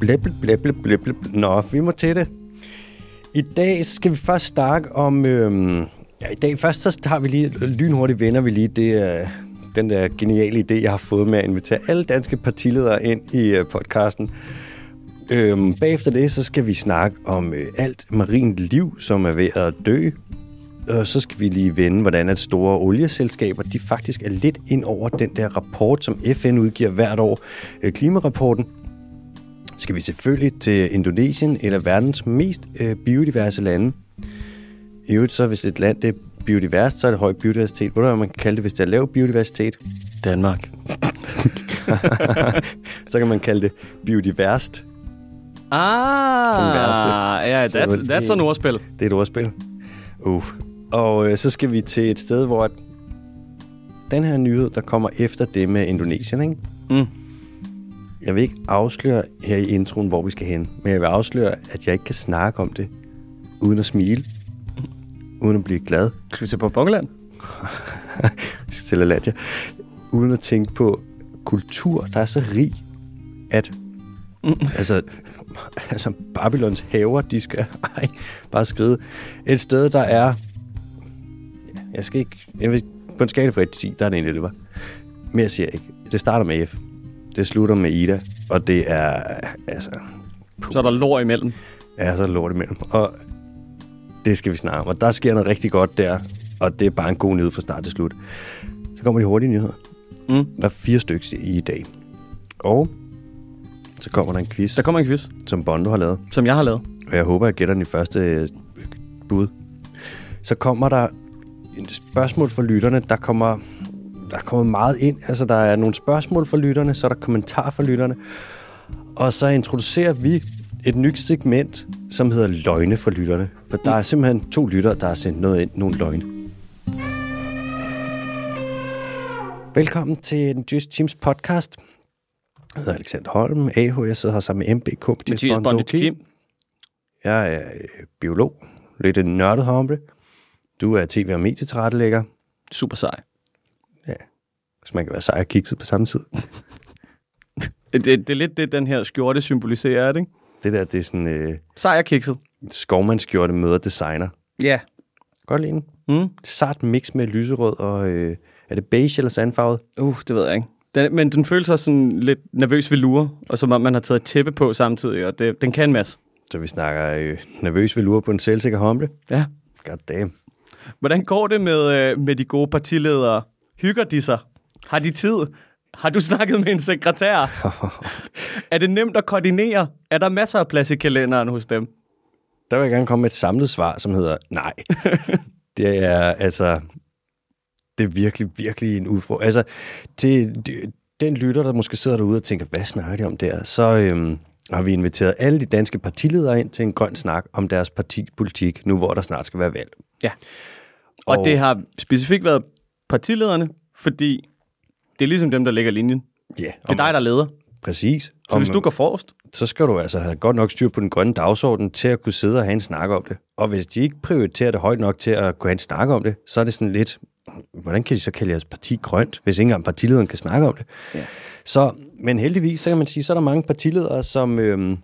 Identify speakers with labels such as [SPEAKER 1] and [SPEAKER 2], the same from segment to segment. [SPEAKER 1] Blæble, blæble, blæble. Nå, vi må til det. I dag skal vi først snakke om... Øhm, ja, I dag først så har vi lige... Lynhurtigt vender vi lige det, øh, den der geniale idé, jeg har fået med at invitere alle danske partiledere ind i øh, podcasten. Øhm, bagefter det, så skal vi snakke om øh, alt marint liv, som er ved at dø. Og så skal vi lige vende, hvordan at store olieselskaber, de faktisk er lidt ind over den der rapport, som FN udgiver hvert år, øh, klimarapporten. Skal vi selvfølgelig til Indonesien, eller verdens mest øh, biodiverse lande. I øvrigt så, hvis et land det er biodiverst, så er det høj biodiversitet. Ved du, hvad man kan kalde det, hvis det er lav biodiversitet?
[SPEAKER 2] Danmark.
[SPEAKER 1] Så kan man kalde det biodiverst.
[SPEAKER 2] Ah,
[SPEAKER 1] Som værste.
[SPEAKER 2] ja,
[SPEAKER 1] Så det
[SPEAKER 2] that's,
[SPEAKER 1] var
[SPEAKER 2] that's an
[SPEAKER 1] det-
[SPEAKER 2] ordspil.
[SPEAKER 1] Det er et ordspil. Uh. Og øh, så skal vi til et sted, hvor at den her nyhed, der kommer efter det med Indonesien, ikke?
[SPEAKER 2] Mm.
[SPEAKER 1] Jeg vil ikke afsløre her i introen, hvor vi skal hen, men jeg vil afsløre, at jeg ikke kan snakke om det, uden at smile, uden at blive glad,
[SPEAKER 2] Skal vi til på Bongeland?
[SPEAKER 1] Stella uden at tænke på kultur, der er så rig, at mm. altså, altså Babylons haver, de skal ej, bare skride. Et sted, der er... Jeg skal ikke... Jeg vil, på en skala fra 1 til 10, der er det en 11. Mere siger jeg ikke. Det starter med F. Det slutter med Ida, og det er... Altså,
[SPEAKER 2] Så er der lår imellem.
[SPEAKER 1] er så lort imellem. Og det skal vi snakke om. Og der sker noget rigtig godt der, og det er bare en god nyhed fra start til slut. Så kommer de hurtige nyheder.
[SPEAKER 2] Mm.
[SPEAKER 1] Der er fire stykker i i dag. Og så kommer der en quiz,
[SPEAKER 2] Der kommer en quiz,
[SPEAKER 1] som Bondo har lavet.
[SPEAKER 2] som jeg har lavet.
[SPEAKER 1] Og jeg håber, jeg gætter den i første øh, bud. Så kommer der et spørgsmål fra lytterne. Der kommer, der kommer meget ind. Altså, der er nogle spørgsmål fra lytterne, så er der kommentarer fra lytterne. Og så introducerer vi et nyt segment, som hedder Løgne fra lytterne. For der er simpelthen to lyttere, der har sendt noget ind, nogle løgne. Velkommen til den Just Teams podcast. Jeg hedder Alexander Holm, AH. Jeg sidder her sammen med MBK.
[SPEAKER 2] Mathias
[SPEAKER 1] Bondo
[SPEAKER 2] Bondi Kim.
[SPEAKER 1] jeg er øh, biolog, lidt en nørdet hombre. Du er tv- og medietilrettelægger,
[SPEAKER 2] Super sej.
[SPEAKER 1] hvis man kan være sej og kikset på samme tid.
[SPEAKER 2] Det, det, det er lidt det, den her skjorte symboliserer, er det ikke?
[SPEAKER 1] Det der, det er sådan øh,
[SPEAKER 2] Sej og kikset.
[SPEAKER 1] skovmandskjorte møder designer.
[SPEAKER 2] Ja.
[SPEAKER 1] Godt lide den.
[SPEAKER 2] Mm.
[SPEAKER 1] Sart mix med lyserød og... Øh, er det beige eller sandfarvet?
[SPEAKER 2] Uh, det ved jeg ikke. Den, men den føles også sådan lidt nervøs ved lure, og som om man har taget et tæppe på samtidig, og det, den kan en masse.
[SPEAKER 1] Så vi snakker øh, nervøs velure på en selvsikker homle.
[SPEAKER 2] Ja.
[SPEAKER 1] God damn.
[SPEAKER 2] Hvordan går det med, øh, med de gode partiledere? Hygger de sig? Har de tid? Har du snakket med en sekretær? er det nemt at koordinere? Er der masser af plads i kalenderen hos dem?
[SPEAKER 1] Der vil jeg gerne komme med et samlet svar, som hedder nej. det er altså... Det er virkelig, virkelig en udfordring. Altså, til de- den lytter, der måske sidder derude og tænker, hvad snakker de om der? Så øhm, har vi inviteret alle de danske partiledere ind til en grøn snak om deres partipolitik, nu hvor der snart skal være valg.
[SPEAKER 2] Ja. Og,
[SPEAKER 1] Og-
[SPEAKER 2] og det har specifikt været partilederne, fordi det er ligesom dem, der lægger linjen. Det
[SPEAKER 1] Ja, yeah,
[SPEAKER 2] er dig, der leder.
[SPEAKER 1] præcis.
[SPEAKER 2] Så hvis du går forrest,
[SPEAKER 1] så skal du altså have godt nok styr på den grønne dagsorden til at kunne sidde og have en snak om det. Og hvis de ikke prioriterer det højt nok til at kunne have en snak om det, så er det sådan lidt, hvordan kan de så kalde jeres parti grønt, hvis ikke engang partilederen kan snakke om det?
[SPEAKER 2] Ja.
[SPEAKER 1] Så, men heldigvis, så kan man sige, så er der mange partiledere, som øhm,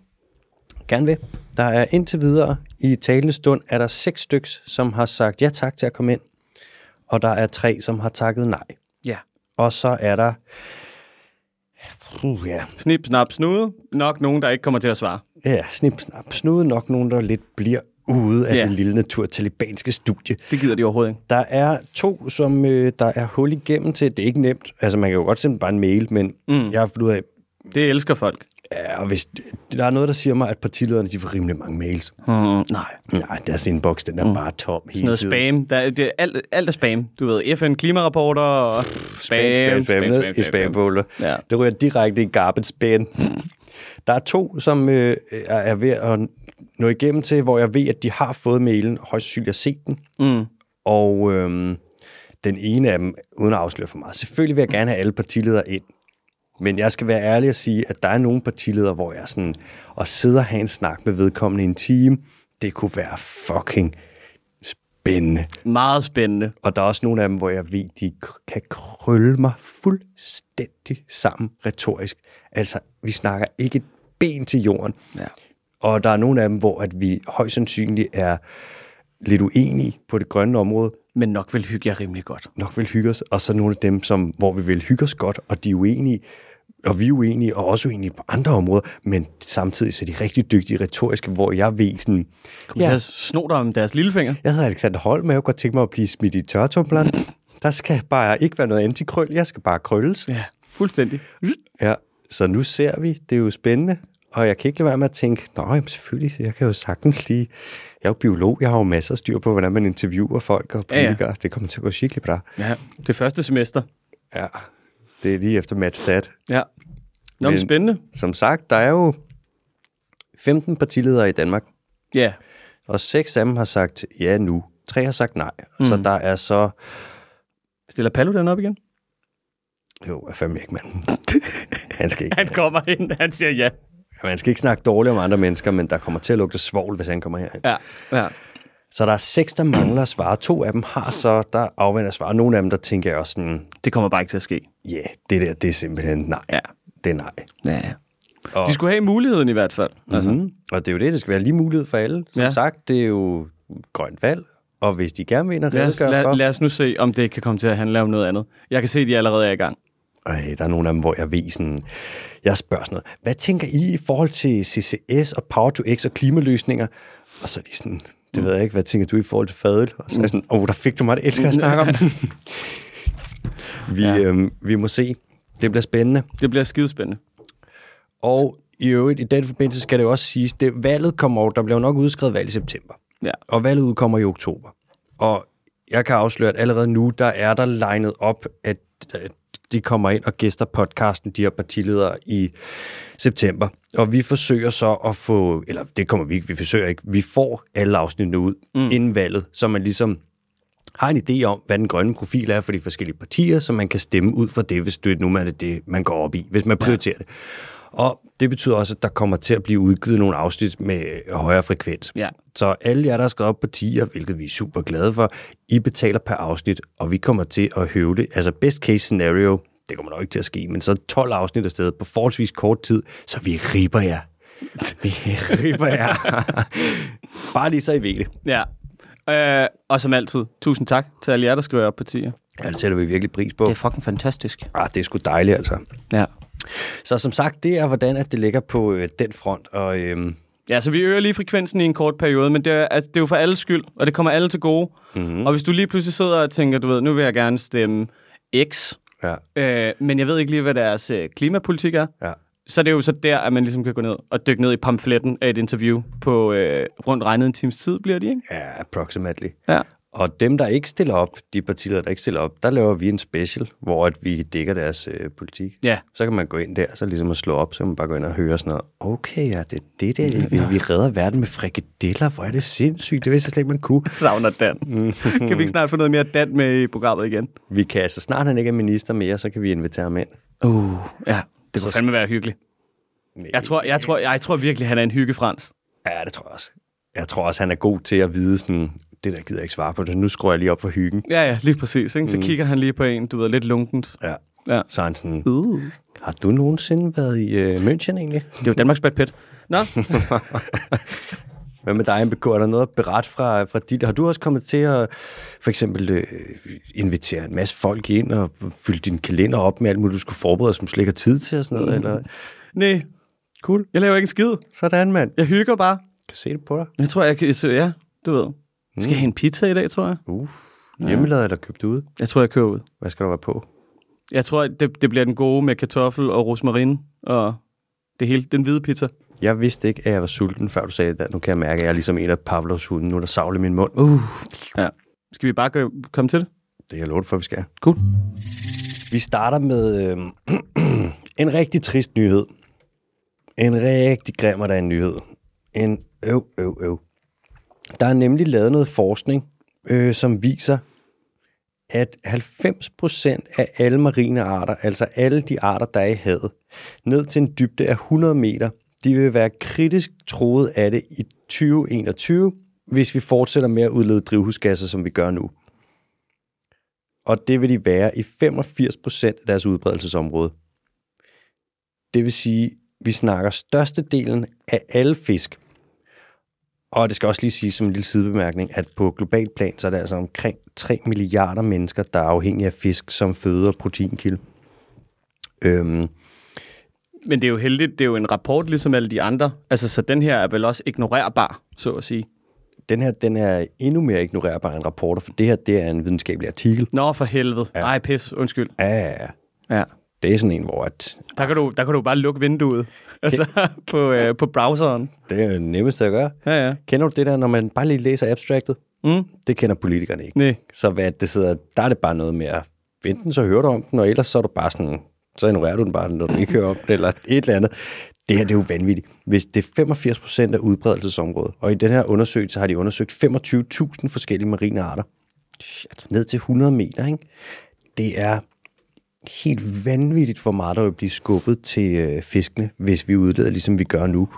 [SPEAKER 1] gerne vil. Der er indtil videre i talende stund, er der seks styks, som har sagt ja tak til at komme ind, og der er tre, som har takket nej.
[SPEAKER 2] ja.
[SPEAKER 1] Og så er der... Uh, ja,
[SPEAKER 2] snip, snap, snude, nok nogen, der ikke kommer til at svare.
[SPEAKER 1] Ja, snip, snap, snude nok nogen, der lidt bliver ude af
[SPEAKER 2] Ja.
[SPEAKER 1] det lille naturtalibanske studie.
[SPEAKER 2] Det gider de overhovedet ikke.
[SPEAKER 1] Der er to, som øh, der er hul igennem til. Det er ikke nemt. Altså, man kan jo godt sende bare en mail, men mm. jeg har fundet ud af,
[SPEAKER 2] Det elsker folk.
[SPEAKER 1] ja, og hvis, der er noget, der siger mig, at partilederne de får rimelig mange mails.
[SPEAKER 2] Mm, nej.
[SPEAKER 1] Nej, deres inbox, den er mm. bare tom hele
[SPEAKER 2] Noget
[SPEAKER 1] tiden.
[SPEAKER 2] spam. Der, er- det er alt, alt er spam. Du ved, FN klimarapporter og spam,
[SPEAKER 1] spam, spam, spam, ned i spamfolder.
[SPEAKER 2] Ja.
[SPEAKER 1] Det ryger direkte i garbage bin. Der er to, som øh, er er ved at nå igennem til, hvor jeg ved, at de har fået mailen, højst sandsynligt har set den. Mm. Og øhm, den ene af dem, uden at afsløre for meget, selvfølgelig vil jeg gerne have alle partiledere ind. Men jeg skal være ærlig og sige, at der er nogle partiledere, hvor jeg sådan, og sidder og have en snak med vedkommende i en time, det kunne være fucking spændende.
[SPEAKER 2] Meget spændende.
[SPEAKER 1] Og der er også nogle af dem, hvor jeg ved, de k- kan krølle mig fuldstændig sammen retorisk. Altså, vi snakker ikke ben til jorden.
[SPEAKER 2] Ja.
[SPEAKER 1] Og der er nogle af dem, hvor at vi højst sandsynligt er lidt uenige på det grønne område,
[SPEAKER 2] Men nok vil hygge jer rimelig godt.
[SPEAKER 1] nok vil hygge os, og så nogle af dem, som, hvor vi vil hygge os godt, og de er uenige, og vi er uenige, og også uenige på andre områder, men samtidig så er de rigtig dygtige retoriske, hvor jeg ved sådan,
[SPEAKER 2] Kom ja. så sno dig om deres lillefinger.
[SPEAKER 1] jeg hedder Alexander Holm, og jeg kunne godt tænke mig at blive smidt i tørretumbleren. Der skal bare ikke være noget antikrøl, jeg skal bare krølles.
[SPEAKER 2] Ja, fuldstændig.
[SPEAKER 1] Ja, så nu ser vi, det er jo spændende, og jeg kan ikke lade være med at tænke, nå, jamen selvfølgelig, jeg kan jo sagtens lige, jeg er jo biolog, jeg har jo masser af styr på, hvordan man interviewer folk og
[SPEAKER 2] Ja, ja.
[SPEAKER 1] politikere, ja, ja. det kommer til at gå skikkelig bra.
[SPEAKER 2] Ja, det første semester.
[SPEAKER 1] Ja, det er lige efter matstat.
[SPEAKER 2] Ja. Nå, men
[SPEAKER 1] Men-
[SPEAKER 2] spændende.
[SPEAKER 1] Som sagt, der er jo 15 partiledere i Danmark,
[SPEAKER 2] Ja.
[SPEAKER 1] og seks af dem har sagt ja nu, tre har sagt nej, mm. så der er så...
[SPEAKER 2] Stiller Paludan op igen?
[SPEAKER 1] Jo, jeg fandme ikke, mand. Han skal ikke.
[SPEAKER 2] Han kommer ind, han siger ja.
[SPEAKER 1] Man skal ikke snakke dårligt om andre mennesker, men der kommer til at lugte svovl, hvis han kommer herind.
[SPEAKER 2] Ja, ja.
[SPEAKER 1] Så der er seks, der mangler at svare. To af dem har så, der afventer at svare. Nogle af dem, der tænker jeg også sådan,
[SPEAKER 2] Det kommer bare ikke til at ske.
[SPEAKER 1] ja, yeah, det der, det er simpelthen nej.
[SPEAKER 2] Ja.
[SPEAKER 1] Det er nej.
[SPEAKER 2] Ja. Og... De skulle have muligheden i hvert fald. Mm. Altså.
[SPEAKER 1] Mm. Og det er jo det, det skal være lige mulighed for alle. Som
[SPEAKER 2] Ja.
[SPEAKER 1] ja. sagt, det er jo grønt valg, og hvis de gerne vil ind og
[SPEAKER 2] Altså, Lad, os,
[SPEAKER 1] redegøre for...
[SPEAKER 2] lad, lad os nu se, om det kan komme til at handle om noget andet. Jeg kan se, at de allerede er i gang.
[SPEAKER 1] Ej, der er nogle af dem, hvor jeg ved sådan, jeg spørger sådan noget, hvad tænker I i forhold til CCS og Power to X og klimaløsninger? Og så er de sådan, det ved jeg ikke, hvad tænker du i forhold til fadøl? Og så er jeg sådan, åh, oh, der fik du mig, det elsker jeg at snakke om. vi, ja. øhm, vi må se. Det bliver spændende.
[SPEAKER 2] Det bliver skidespændende.
[SPEAKER 1] Og i øvrigt, i den forbindelse skal det jo også siges, det valget kommer over, der bliver jo nok udskrevet valg i september.
[SPEAKER 2] Ja.
[SPEAKER 1] Og valget udkommer i oktober. Og jeg kan afsløre, at allerede nu, der er der legnet op, at at de kommer ind og gæster podcasten, de her partiledere, i september. Og vi forsøger så at få, eller det kommer vi ikke, vi forsøger ikke, vi får alle afsnittene ud mm. inden valget, så man ligesom har en idé om, hvad den grønne profil er for de forskellige partier, så man kan stemme ud fra det, hvis det nu er det, det man går op i, hvis man prioriterer ja. det. Og det betyder også, at der kommer til at blive udgivet nogle afsnit med øh, højere frekvens.
[SPEAKER 2] Ja.
[SPEAKER 1] Så alle jer, der har skrevet op partier, hvilket vi er super glade for, I betaler per afsnit, og vi kommer til at høve det. Altså best case scenario, det kommer nok ikke til at ske, men så 12 afsnit af stedet på forholdsvis kort tid, så vi ripper jer. Vi ripper jer. Bare lige så I ved det.
[SPEAKER 2] Ja. Øh, og som altid, tusind tak til alle jer, der skriver op partier.
[SPEAKER 1] Ja, det sætter vi virkelig pris på.
[SPEAKER 2] fucking fantastisk.
[SPEAKER 1] Ah, det er sgu dejligt altså.
[SPEAKER 2] Ja.
[SPEAKER 1] Så som sagt, det er hvordan at det ligger på øh, den front, og øhm,
[SPEAKER 2] Ja, så vi øger lige frekvensen i en kort periode, men det er, altså, det er jo for alles skyld, og det kommer alle til gode. Mm-hmm. Og hvis du lige pludselig sidder og tænker, du ved, nu vil jeg gerne stemme X,
[SPEAKER 1] ja,
[SPEAKER 2] øh, men jeg ved ikke lige, hvad deres øh, klimapolitik er,
[SPEAKER 1] ja.
[SPEAKER 2] så er det jo så der, at man ligesom kan gå ned og dykke ned i pamfletten af et interview på øh, rundt regnet en times tid, bliver det, ikke?
[SPEAKER 1] Ja, approximately.
[SPEAKER 2] Ja.
[SPEAKER 1] Og dem, der ikke stiller op, de partier, der ikke stiller op, der laver vi en special, hvor at vi dækker deres øh, politik.
[SPEAKER 2] Ja.
[SPEAKER 1] Så kan man gå ind der, så ligesom at slå op, så kan man bare gå ind og høre sådan noget. Okay, ja, det er det der, vi, vi redder verden med frikadeller. Hvor er det sindssygt, det vidste jeg slet ikke, man kunne.
[SPEAKER 2] Savner Dan. kan vi ikke snart få noget mere Dan med i programmet igen?
[SPEAKER 1] Vi kan, så snart han ikke er minister mere, så kan vi invitere ham ind.
[SPEAKER 2] Uh, ja. Det kunne fandme være hyggeligt.
[SPEAKER 1] Nej.
[SPEAKER 2] Jeg tror, jeg, tror, jeg tror virkelig, han er en hyggefrans.
[SPEAKER 1] Ja, det tror jeg også. Jeg tror også, han er god til at vide sådan, det der gider jeg ikke svare på, så nu skruer jeg lige op for hyggen.
[SPEAKER 2] Ja, ja, lige præcis. Ikke? Så kigger han lige på en, du ved, lidt lunkent.
[SPEAKER 1] Ja.
[SPEAKER 2] Ja.
[SPEAKER 1] Så er han sådan,
[SPEAKER 2] Uh.
[SPEAKER 1] har du nogensinde været i øh, München egentlig?
[SPEAKER 2] Det var Danmarks Brad Pitt. Nå,
[SPEAKER 1] Hvad med dig, MBK? Er der noget at berette fra, fra dit? Har du også kommet til at for eksempel øh, invitere en masse folk ind og fylde din kalender op med alt muligt, du skulle forberede, som du slet ikke har tid til og sådan noget? Mm. Eller?
[SPEAKER 2] nej.
[SPEAKER 1] Cool.
[SPEAKER 2] Jeg laver ikke en skid.
[SPEAKER 1] Sådan, mand.
[SPEAKER 2] Jeg hygger bare.
[SPEAKER 1] Kan se det på dig.
[SPEAKER 2] Jeg tror, jeg kan... så Ja, du ved. Skal jeg have en pizza i dag, tror jeg?
[SPEAKER 1] Uff. Hjemmelavet eller købt ude?
[SPEAKER 2] Jeg tror, jeg kører ud.
[SPEAKER 1] Hvad skal der være på?
[SPEAKER 2] Jeg tror, det, det bliver den gode med kartoffel og rosmarin og det hele. Den hvide pizza.
[SPEAKER 1] Jeg vidste ikke, at jeg var sulten, før du sagde det. Nu kan jeg mærke, at jeg er ligesom en af Pavlovs hunde. Nu er der savl i min mund.
[SPEAKER 2] Uh. Ja. Skal vi bare gå, komme til det?
[SPEAKER 1] Det kan jeg love dig for, vi skal.
[SPEAKER 2] Cool.
[SPEAKER 1] Vi starter med øh, en rigtig trist nyhed. En rigtig grim og der er en nyhed. En øv, øv, øv. Der er nemlig lavet noget forskning, øh, som viser, at 90% af alle marine arter, altså alle de arter, der er i havet, ned til en dybde af 100 meter, de vil være kritisk troet af det i 2021, hvis vi fortsætter med at udlede drivhusgasser, som vi gør nu og det vil de være i 85 procent af deres udbredelsesområde. Det vil sige, Vi snakker størstedelen af alle fisk. Og det skal også lige sige som en lille sidebemærkning, at på global plan, så er det altså omkring 3 milliarder mennesker, der er afhængige af fisk som føde og proteinkilde. Øhm,
[SPEAKER 2] Men det er jo heldigt, det er jo en rapport ligesom alle de andre. Altså, så den her er vel også ignorerbar, så at sige.
[SPEAKER 1] den her den er endnu mere ignorerbar end rapporter, for det her det er en videnskabelig artikel.
[SPEAKER 2] Nå, for helvede. Ja. Ej, pis. Undskyld.
[SPEAKER 1] Ja, ja, ja.
[SPEAKER 2] Ja.
[SPEAKER 1] det er sådan en, hvor at
[SPEAKER 2] Der kan du, der kan du bare lukke vinduet. Altså, på, øh, på browseren.
[SPEAKER 1] det er det nemmeste at gøre.
[SPEAKER 2] Ja, ja.
[SPEAKER 1] Kender du det der, når man bare lige læser abstractet?
[SPEAKER 2] Mm.
[SPEAKER 1] Det kender politikerne ikke.
[SPEAKER 2] Nej.
[SPEAKER 1] Så hvad det sidder, der er det bare noget med at enten så hører du om den, og ellers så er du bare sådan, så ignorerer du den bare, når du ikke hører om den, eller et eller andet. Det her, det er jo vanvittigt. Hvis det er 85 procent af udbredelsesområdet, og i den her undersøgelse har de undersøgt 25.000 forskellige marine arter. Shit. Ned til 100 meter, ikke? Det er helt vanvittigt, hvor meget der vil blive skubbet til øh, fiskene, hvis vi udleder, ligesom vi gør nu.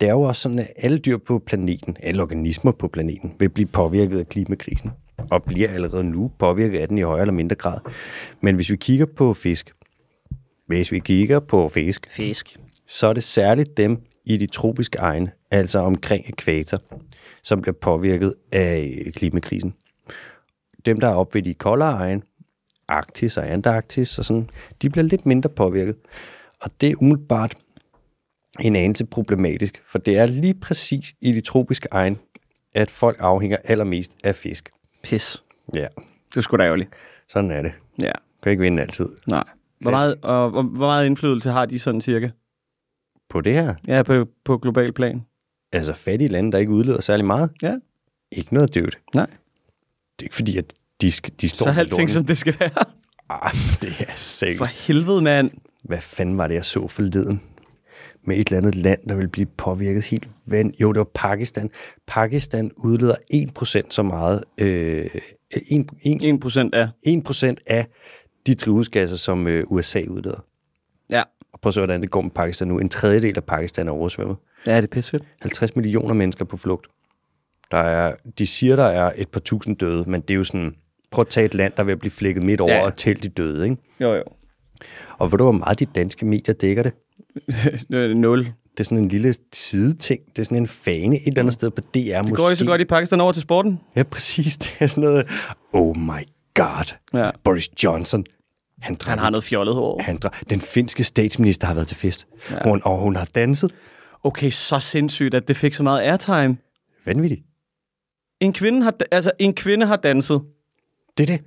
[SPEAKER 1] Det er jo også sådan, at alle dyr på planeten, alle organismer på planeten, vil blive påvirket af klimakrisen, og bliver allerede nu påvirket af den i højere eller mindre grad. Men hvis vi kigger på fisk, hvis vi kigger på fisk,
[SPEAKER 2] Fisk.
[SPEAKER 1] så er det særligt dem i de tropiske egne, altså omkring ekvator, som bliver påvirket af øh, klimakrisen. Dem, der er oppe ved de koldere egne, Arktis og Antarktis og sådan, de bliver lidt mindre påvirket. Og det er umiddelbart en anelse problematisk, for det er lige præcis i de tropiske egne, at folk afhænger allermest af fisk.
[SPEAKER 2] Pis.
[SPEAKER 1] Ja,
[SPEAKER 2] Det er sgu da ærgerligt.
[SPEAKER 1] sådan er det.
[SPEAKER 2] Ja.
[SPEAKER 1] Kan ikke vinde altid
[SPEAKER 2] Nej. Hvor meget, og, og, hvor meget indflydelse har de sådan cirka?
[SPEAKER 1] på det her.
[SPEAKER 2] Ja, på, på global plan.
[SPEAKER 1] Altså fattige lande, der ikke udleder særlig meget.
[SPEAKER 2] Ja.
[SPEAKER 1] Ikke noget dødt.
[SPEAKER 2] Nej.
[SPEAKER 1] Det er ikke fordi, at de, skal, de står
[SPEAKER 2] Så
[SPEAKER 1] med
[SPEAKER 2] er alting,
[SPEAKER 1] lorten.
[SPEAKER 2] som det skal være.
[SPEAKER 1] Ah, det er sikkert.
[SPEAKER 2] For helvede, mand.
[SPEAKER 1] Hvad fanden var det, jeg så forleden? Med et eller andet land, der ville blive påvirket helt vand. Jo, det var Pakistan. Pakistan udleder 1% så meget. Øh, 1, 1,
[SPEAKER 2] 1% af.
[SPEAKER 1] 1% af de drivhusgasser, som øh, USA udleder.
[SPEAKER 2] Ja.
[SPEAKER 1] Og prøv at se, hvordan det går med Pakistan nu. En tredjedel af Pakistan er oversvømmet.
[SPEAKER 2] Ja, det er pissefedt.
[SPEAKER 1] 50 millioner mennesker på flugt. Der er, de siger, der er et par tusind døde, men det er jo sådan, prøv at tage et land, der vil blive flækket midt over
[SPEAKER 2] Ja.
[SPEAKER 1] ja. og tælle de døde, ikke?
[SPEAKER 2] Jo, jo.
[SPEAKER 1] Og ved du, hvor meget de danske medier dækker det?
[SPEAKER 2] Øh, Nul.
[SPEAKER 1] Det er sådan en lille sideting. Det er sådan en fane et eller andet sted på DR. Det måske.
[SPEAKER 2] Mm. Går I så godt i Pakistan over til sporten?
[SPEAKER 1] Ja, præcis. Det er sådan noget, oh my god,
[SPEAKER 2] Ja.
[SPEAKER 1] Boris Johnson. Han, drak,
[SPEAKER 2] Han har noget fjollet hår.
[SPEAKER 1] han drak, Den finske statsminister har været til fest, ja. hun, og hun har danset.
[SPEAKER 2] Okay, så sindssygt, at det fik så meget airtime.
[SPEAKER 1] Vanvittigt.
[SPEAKER 2] En kvinde har, altså, en kvinde har danset.
[SPEAKER 1] Det er det.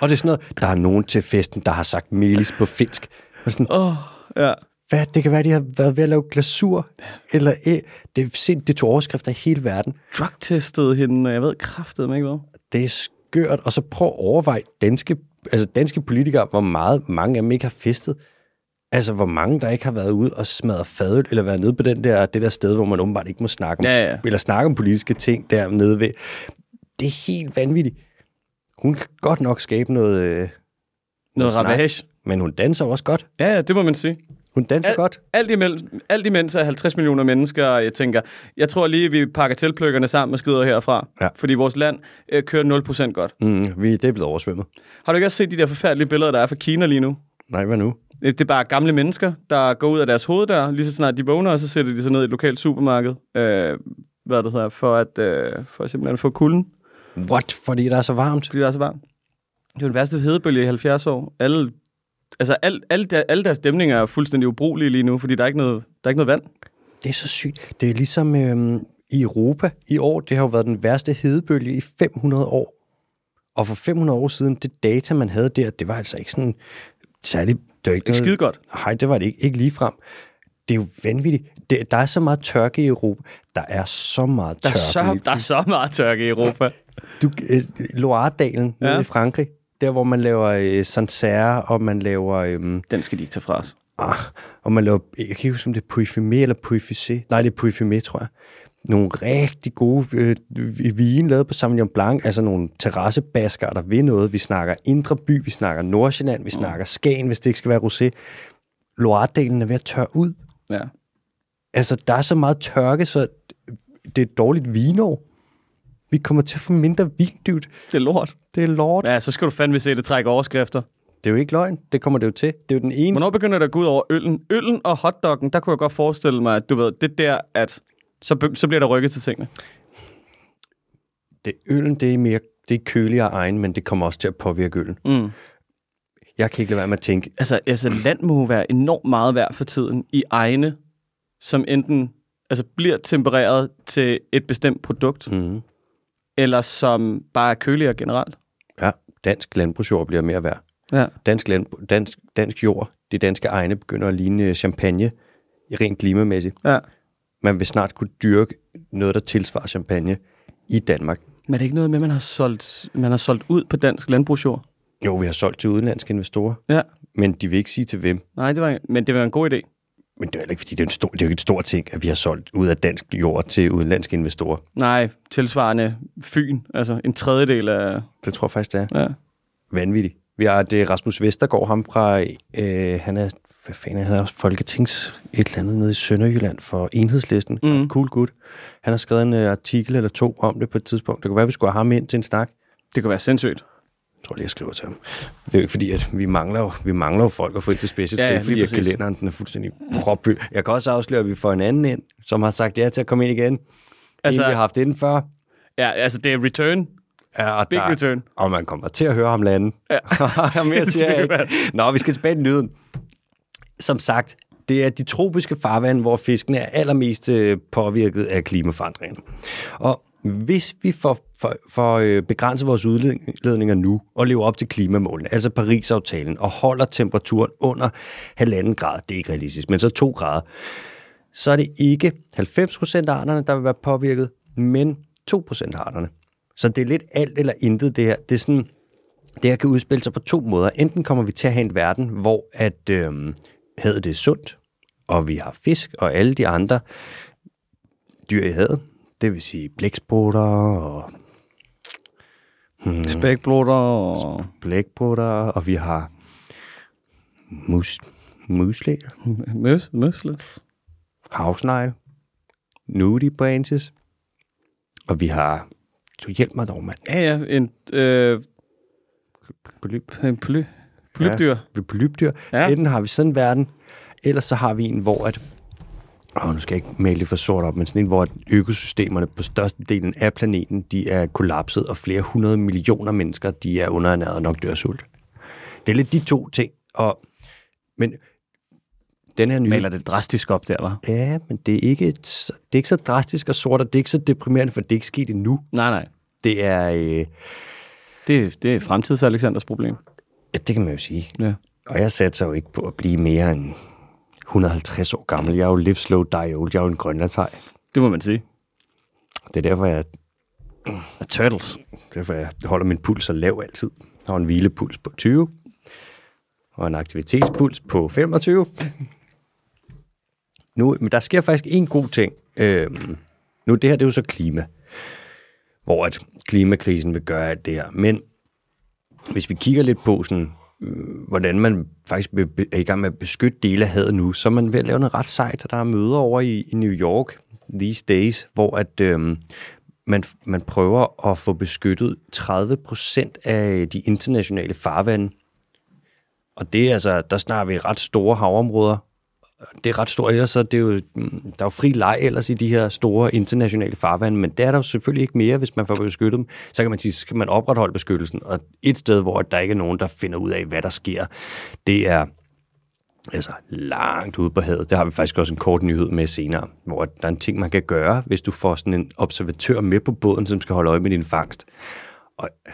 [SPEAKER 1] Og det er sådan noget, der er nogen til festen, der har sagt melis på finsk. Og sådan,
[SPEAKER 2] Åh, oh, ja.
[SPEAKER 1] hvad, det kan være, de har været ved at lave glasur, eller æ. Det, er sind, det tog overskrifter i hele verden.
[SPEAKER 2] Drugtestede hende, og jeg ved kraftedeme ikke hvad.
[SPEAKER 1] Det er skørt. Og så prøv at overveje danske, altså danske politikere, hvor meget mange af dem ikke har festet. Altså, hvor mange, der ikke har været ude og smadret fadøl, eller været nede på den der, det der sted, hvor man åbenbart ikke må snakke om,
[SPEAKER 2] Ja, ja.
[SPEAKER 1] eller snakke om politiske ting dernede ved. Det er helt vanvittigt. Hun kan godt nok skabe noget, øh,
[SPEAKER 2] Noget
[SPEAKER 1] snak.
[SPEAKER 2] ravage.
[SPEAKER 1] men hun danser også godt.
[SPEAKER 2] Ja, ja, det må man sige.
[SPEAKER 1] Hun danser
[SPEAKER 2] Al-
[SPEAKER 1] godt.
[SPEAKER 2] Alt imens, alt imens er 50 millioner mennesker, og jeg tænker, jeg tror lige, vi pakker tilpløkkerne sammen og skrider herfra.
[SPEAKER 1] Ja.
[SPEAKER 2] Fordi vores land øh, kører 0% godt.
[SPEAKER 1] Mm, vi, det er blevet oversvømmet.
[SPEAKER 2] Har du ikke også set de der forfærdelige billeder, der er fra Kina lige nu?
[SPEAKER 1] Nej, hvad nu?
[SPEAKER 2] Øh, Det er bare gamle mennesker, der går ud af deres hoveddør, lige så snart de vågner, og så sætter de sig ned i et lokalt supermarked, øh, hvad det hedder, for at øh, for simpelthen at få kulden,
[SPEAKER 1] What? Fordi der er så varmt.
[SPEAKER 2] fordi det er så varmt. Det er jo den værste hedebølge i 70 år. Alle, altså al, alle, der, alle deres dæmninger er fuldstændig ubrugelige lige nu, fordi der er ikke noget, der er ikke noget vand.
[SPEAKER 1] Det er så sygt. Det er ligesom øhm, i Europa i år. Det har jo været den værste hedebølge i 500 år. Og for 500 år siden, det data, man havde der, det var altså ikke sådan særlig... Det var ikke
[SPEAKER 2] Ikke
[SPEAKER 1] noget,
[SPEAKER 2] skide godt.
[SPEAKER 1] Nej, det var det ikke. Ikke ligefrem. Det er jo vanvittigt. Det, der er så meget tørke i Europa. Der er så meget
[SPEAKER 2] Der er,
[SPEAKER 1] tørke.
[SPEAKER 2] så, der er så meget tørke i Europa.
[SPEAKER 1] Du, øh, Loire-dalen nede
[SPEAKER 2] Ja.
[SPEAKER 1] i Frankrig, der hvor man laver øh, Sancerre, og man laver... Øh,
[SPEAKER 2] Den skal de ikke tage fra os.
[SPEAKER 1] Ah, og man laver, jeg kan ikke huske, om det er Puifumé eller Puifusé. Nej, det er Puifumé, tror jeg. Nogle rigtig gode øh, vine lavet på Sauvignon Blanc, altså nogle terrassebasker, der ved noget. Vi snakker Indre By, vi snakker Nordsjælland, vi snakker Skagen, hvis det ikke skal være rosé. Loire-delen er ved at tørre ud.
[SPEAKER 2] Ja.
[SPEAKER 1] Altså, der er så meget tørke, så det er et dårligt vinår. Vi kommer til at få mindre vindygt.
[SPEAKER 2] Det er lort.
[SPEAKER 1] Det er lort.
[SPEAKER 2] Ja, så skal du fandme se det trække overskrifter.
[SPEAKER 1] Det er jo ikke løgn. Det kommer det jo til. Det er jo den ene.
[SPEAKER 2] Hvornår begynder det at gå ud over øllen? Øllen og hotdoggen, der kunne jeg godt forestille mig, at du ved, det der, at så, be- så bliver der rykket til tingene.
[SPEAKER 1] Det, øllen, det er mere det er køligere egen, men det kommer også til at påvirke øllen.
[SPEAKER 2] Mm.
[SPEAKER 1] Jeg kan ikke lade være med at tænke,
[SPEAKER 2] Altså, altså, land må jo være enormt meget værd for tiden i egne, som enten altså, bliver tempereret til et bestemt produkt,
[SPEAKER 1] mm,
[SPEAKER 2] eller som bare er køligere generelt.
[SPEAKER 1] ja, dansk landbrugsjord bliver mere værd.
[SPEAKER 2] Ja.
[SPEAKER 1] Dansk, land, dansk, dansk jord, de danske egne, begynder at ligne champagne rent klimamæssigt.
[SPEAKER 2] ja.
[SPEAKER 1] Man vil snart kunne dyrke noget, der tilsvarer champagne i Danmark.
[SPEAKER 2] Men er det ikke noget med, at man har solgt, man har solgt ud på dansk landbrugsjord?
[SPEAKER 1] Jo, vi har solgt til udenlandske investorer,
[SPEAKER 2] Ja.
[SPEAKER 1] men de vil ikke sige til hvem.
[SPEAKER 2] Nej, det var, men det var en god idé.
[SPEAKER 1] Men det er jo heller ikke, fordi det er, en stor, det er jo ikke en stor ting, at vi har solgt ud af dansk jord til udenlandske investorer.
[SPEAKER 2] Nej, tilsvarende Fyn, altså en tredjedel af...
[SPEAKER 1] Det tror jeg faktisk, det er.
[SPEAKER 2] Ja.
[SPEAKER 1] Vanvittigt. Vi har det er Rasmus Vestergaard, ham fra, øh, han er, hvad fanden, er han? han er også folketings et eller andet nede i Sønderjylland for enhedslisten. Mm. Cool gut. Han har skrevet en øh, artikel eller to om det på et tidspunkt. Det kunne være, vi skulle have ham ind til en snak.
[SPEAKER 2] Det kunne være sindssygt.
[SPEAKER 1] Jeg tror lige, jeg skriver til ham. Det er jo ikke fordi, at vi mangler jo, vi mangler jo folk at få ind til special.
[SPEAKER 2] Ja,
[SPEAKER 1] det er
[SPEAKER 2] ja,
[SPEAKER 1] ikke fordi,
[SPEAKER 2] lige
[SPEAKER 1] at
[SPEAKER 2] præcis.
[SPEAKER 1] kalenderen den er fuldstændig propfyldt. Jeg kan også afsløre, at vi får en anden ind, som har sagt ja til at komme ind igen. Altså,
[SPEAKER 2] Altså-
[SPEAKER 1] en, vi har haft inden før.
[SPEAKER 2] Ja, altså det er return.
[SPEAKER 1] Ja, og
[SPEAKER 2] Big return.
[SPEAKER 1] Og man kommer til at høre ham lande. Ja. Mere siger jeg
[SPEAKER 2] Sindssygt,
[SPEAKER 1] ikke. Nå, vi skal tilbage til lyden. Som sagt, det er de tropiske farvande, hvor fiskene er allermest øh, påvirket af klimaforandringerne. Og hvis vi får, for, for øh, begrænset vores udledninger nu og lever op til klimamålene, altså Paris-aftalen, og holder temperaturen under halvanden grad, det er ikke realistisk, men så to grader, så er det ikke 90% af arterne, der vil være påvirket, men 2% af arterne. Så det er lidt alt eller intet, det her. Det er sådan, det her kan udspille sig på to måder. Enten kommer vi til at have en verden, hvor at øhm, havet det er sundt, og vi har fisk og alle de andre dyr i havet. Det vil sige blæksprutter og
[SPEAKER 2] Spækblotter og...
[SPEAKER 1] blækprutter, og vi har mus, muslinger,
[SPEAKER 2] Møs, møslet.
[SPEAKER 1] havsnegle, nudie branches, og vi har... Du hjælp mig dog, mand.
[SPEAKER 2] Ja, ja, en, øh,
[SPEAKER 1] Polyp.
[SPEAKER 2] en poly, polypdyr. Ja.
[SPEAKER 1] Ja, polypdyr. Ja.
[SPEAKER 2] Ja.
[SPEAKER 1] Enten har vi sådan en verden, eller så har vi en, hvor at... Åh, nu skal jeg ikke male det for sort op, men sådan en, hvor at økosystemerne på størstedelen af planeten, de er kollapset, og flere hundrede millioner mennesker, de er underernæret og nok dør af sult. Det er lidt de to ting, og... Men den her nye...
[SPEAKER 2] Maler det drastisk op der, var.
[SPEAKER 1] Ja, men det er, ikke, et- det er ikke så drastisk og sort, og det er ikke så deprimerende, for det er ikke sket endnu.
[SPEAKER 2] Nej, nej.
[SPEAKER 1] Det er... Øh,
[SPEAKER 2] Det, det er fremtids Alexanders problem.
[SPEAKER 1] ja, det kan man jo sige.
[SPEAKER 2] Ja.
[SPEAKER 1] Og jeg satser jo ikke på at blive mere end 150 år gammel. Jeg er jo live slow, die old. Jeg er jo en grønlandshej.
[SPEAKER 2] Det må man sige.
[SPEAKER 1] Det er derfor, jeg,
[SPEAKER 2] A turtles.
[SPEAKER 1] derfor, jeg holder min puls så lav altid. Jeg har en hvilepuls på 20, og en aktivitetspuls på 25. Nu, men der sker faktisk en god ting. Øhm, nu, det her, det er jo så klima. Hvor at klimakrisen vil gøre alt det her. Men hvis vi kigger lidt på sådan, øh, hvordan man faktisk be- be- er i gang med at beskytte dele af havet nu, så er man ved at lave noget ret sejt, og der er møder over i, i New York these days, hvor at, øhm, man, man prøver at få beskyttet 30 procent af de internationale farvande. Og det er altså, der snakker vi ret store havområder. Det er ret stort, ellers så er det jo, mm, der er jo fri leg ellers i de her store internationale farvande, men der er der jo selvfølgelig ikke mere, hvis man får beskyttet dem. Så kan man sige, så skal man opretholde beskyttelsen. Og et sted, hvor der ikke er nogen, der finder ud af, hvad der sker, det er altså langt ude på havet. Det har vi faktisk også en kort nyhed med senere, hvor der er en ting, man kan gøre, hvis du får sådan en observatør med på båden, som skal holde øje med din fangst. Og øh,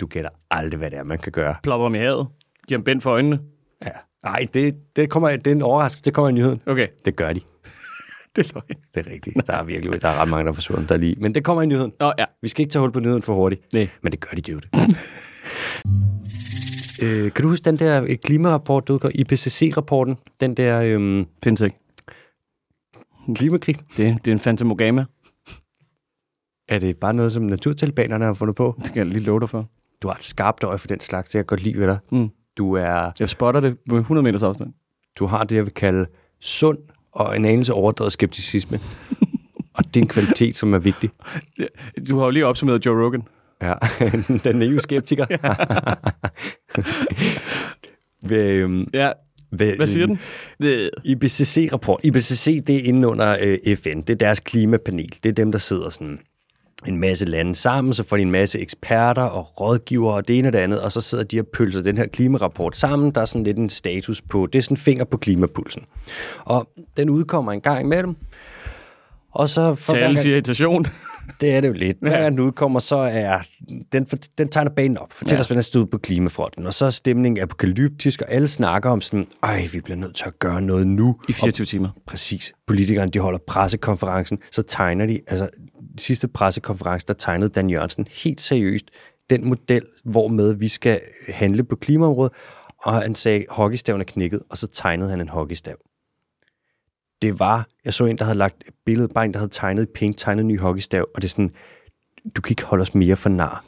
[SPEAKER 1] du gætter aldrig, hvad det er, man kan gøre.
[SPEAKER 2] Plopper dem i havet. Giver dem bænd for øjnene.
[SPEAKER 1] Ja. Nej, det, det, kommer, det er en overraskelse. Det kommer i nyheden.
[SPEAKER 2] Okay,
[SPEAKER 1] Det gør de.
[SPEAKER 2] det er løgn.
[SPEAKER 1] Det er rigtigt. Der er virkelig der er ret mange, der er forsvundet der lige. Men det kommer i nyheden.
[SPEAKER 2] Nå ja,
[SPEAKER 1] Vi skal ikke tage hul på nyheden for hurtigt.
[SPEAKER 2] Nej.
[SPEAKER 1] Men det gør de jo det. øh, kan du huske den der øh, klimarapport, du udgav? IPCC-rapporten? Den der øhm,
[SPEAKER 2] findes ikke.
[SPEAKER 1] klimakrig?
[SPEAKER 2] Det, det er en fantamogama.
[SPEAKER 1] Er det bare noget, som naturtalibanerne har fundet på?
[SPEAKER 2] Det skal jeg lige love dig for.
[SPEAKER 1] Du har et skarpt øje for den slags, det kan jeg godt lide ved dig.
[SPEAKER 2] Mm.
[SPEAKER 1] Du, er,
[SPEAKER 2] Jeg spotter det med 100 meters afstand.
[SPEAKER 1] du har det, jeg vil kalde sund og en anelse overdrevet skepticisme. og det er en kvalitet, som er vigtig.
[SPEAKER 2] Du har jo lige opsummeret Joe Rogan.
[SPEAKER 1] Ja, den naive skeptiker. ved, øhm,
[SPEAKER 2] Ja,
[SPEAKER 1] ved,
[SPEAKER 2] hvad siger den? Øh.
[SPEAKER 1] IPCC-rapport. IPCC, det er inde under øh, FN. Det er deres klimapanel. Det er dem, der sidder sådan en masse lande sammen, så får de en masse eksperter og rådgivere og det ene og det andet, og så sidder de og pølser den her klimarapport sammen. Der er sådan lidt en status på, det er sådan en finger på klimapulsen. Og den udkommer en gang imellem, og så... For
[SPEAKER 2] Til
[SPEAKER 1] hver gang-
[SPEAKER 2] alles irritation.
[SPEAKER 1] det er det jo lidt. Hver gang den udkommer, så er den, for- den tegner banen op. Fortæl ja. os, hvordan det stod på klimafronten. Og så er stemningen apokalyptisk, og alle snakker om sådan, ej, vi bliver nødt til at gøre noget nu.
[SPEAKER 2] I 24 timer.
[SPEAKER 1] Præcis. Politikerne, de holder pressekonferencen, så tegner de, altså sidste pressekonference, der tegnede Dan Jørgensen helt seriøst den model, hvormed vi skal handle på klimaområdet, og han sagde, hockeystaven er knækket, og så tegnede han en hockeystav. Det var, jeg så en, der havde lagt et billede, bare en, der havde tegnet i pink, tegnet en ny hockeystav, og det er sådan, du kan ikke holde os mere for nar.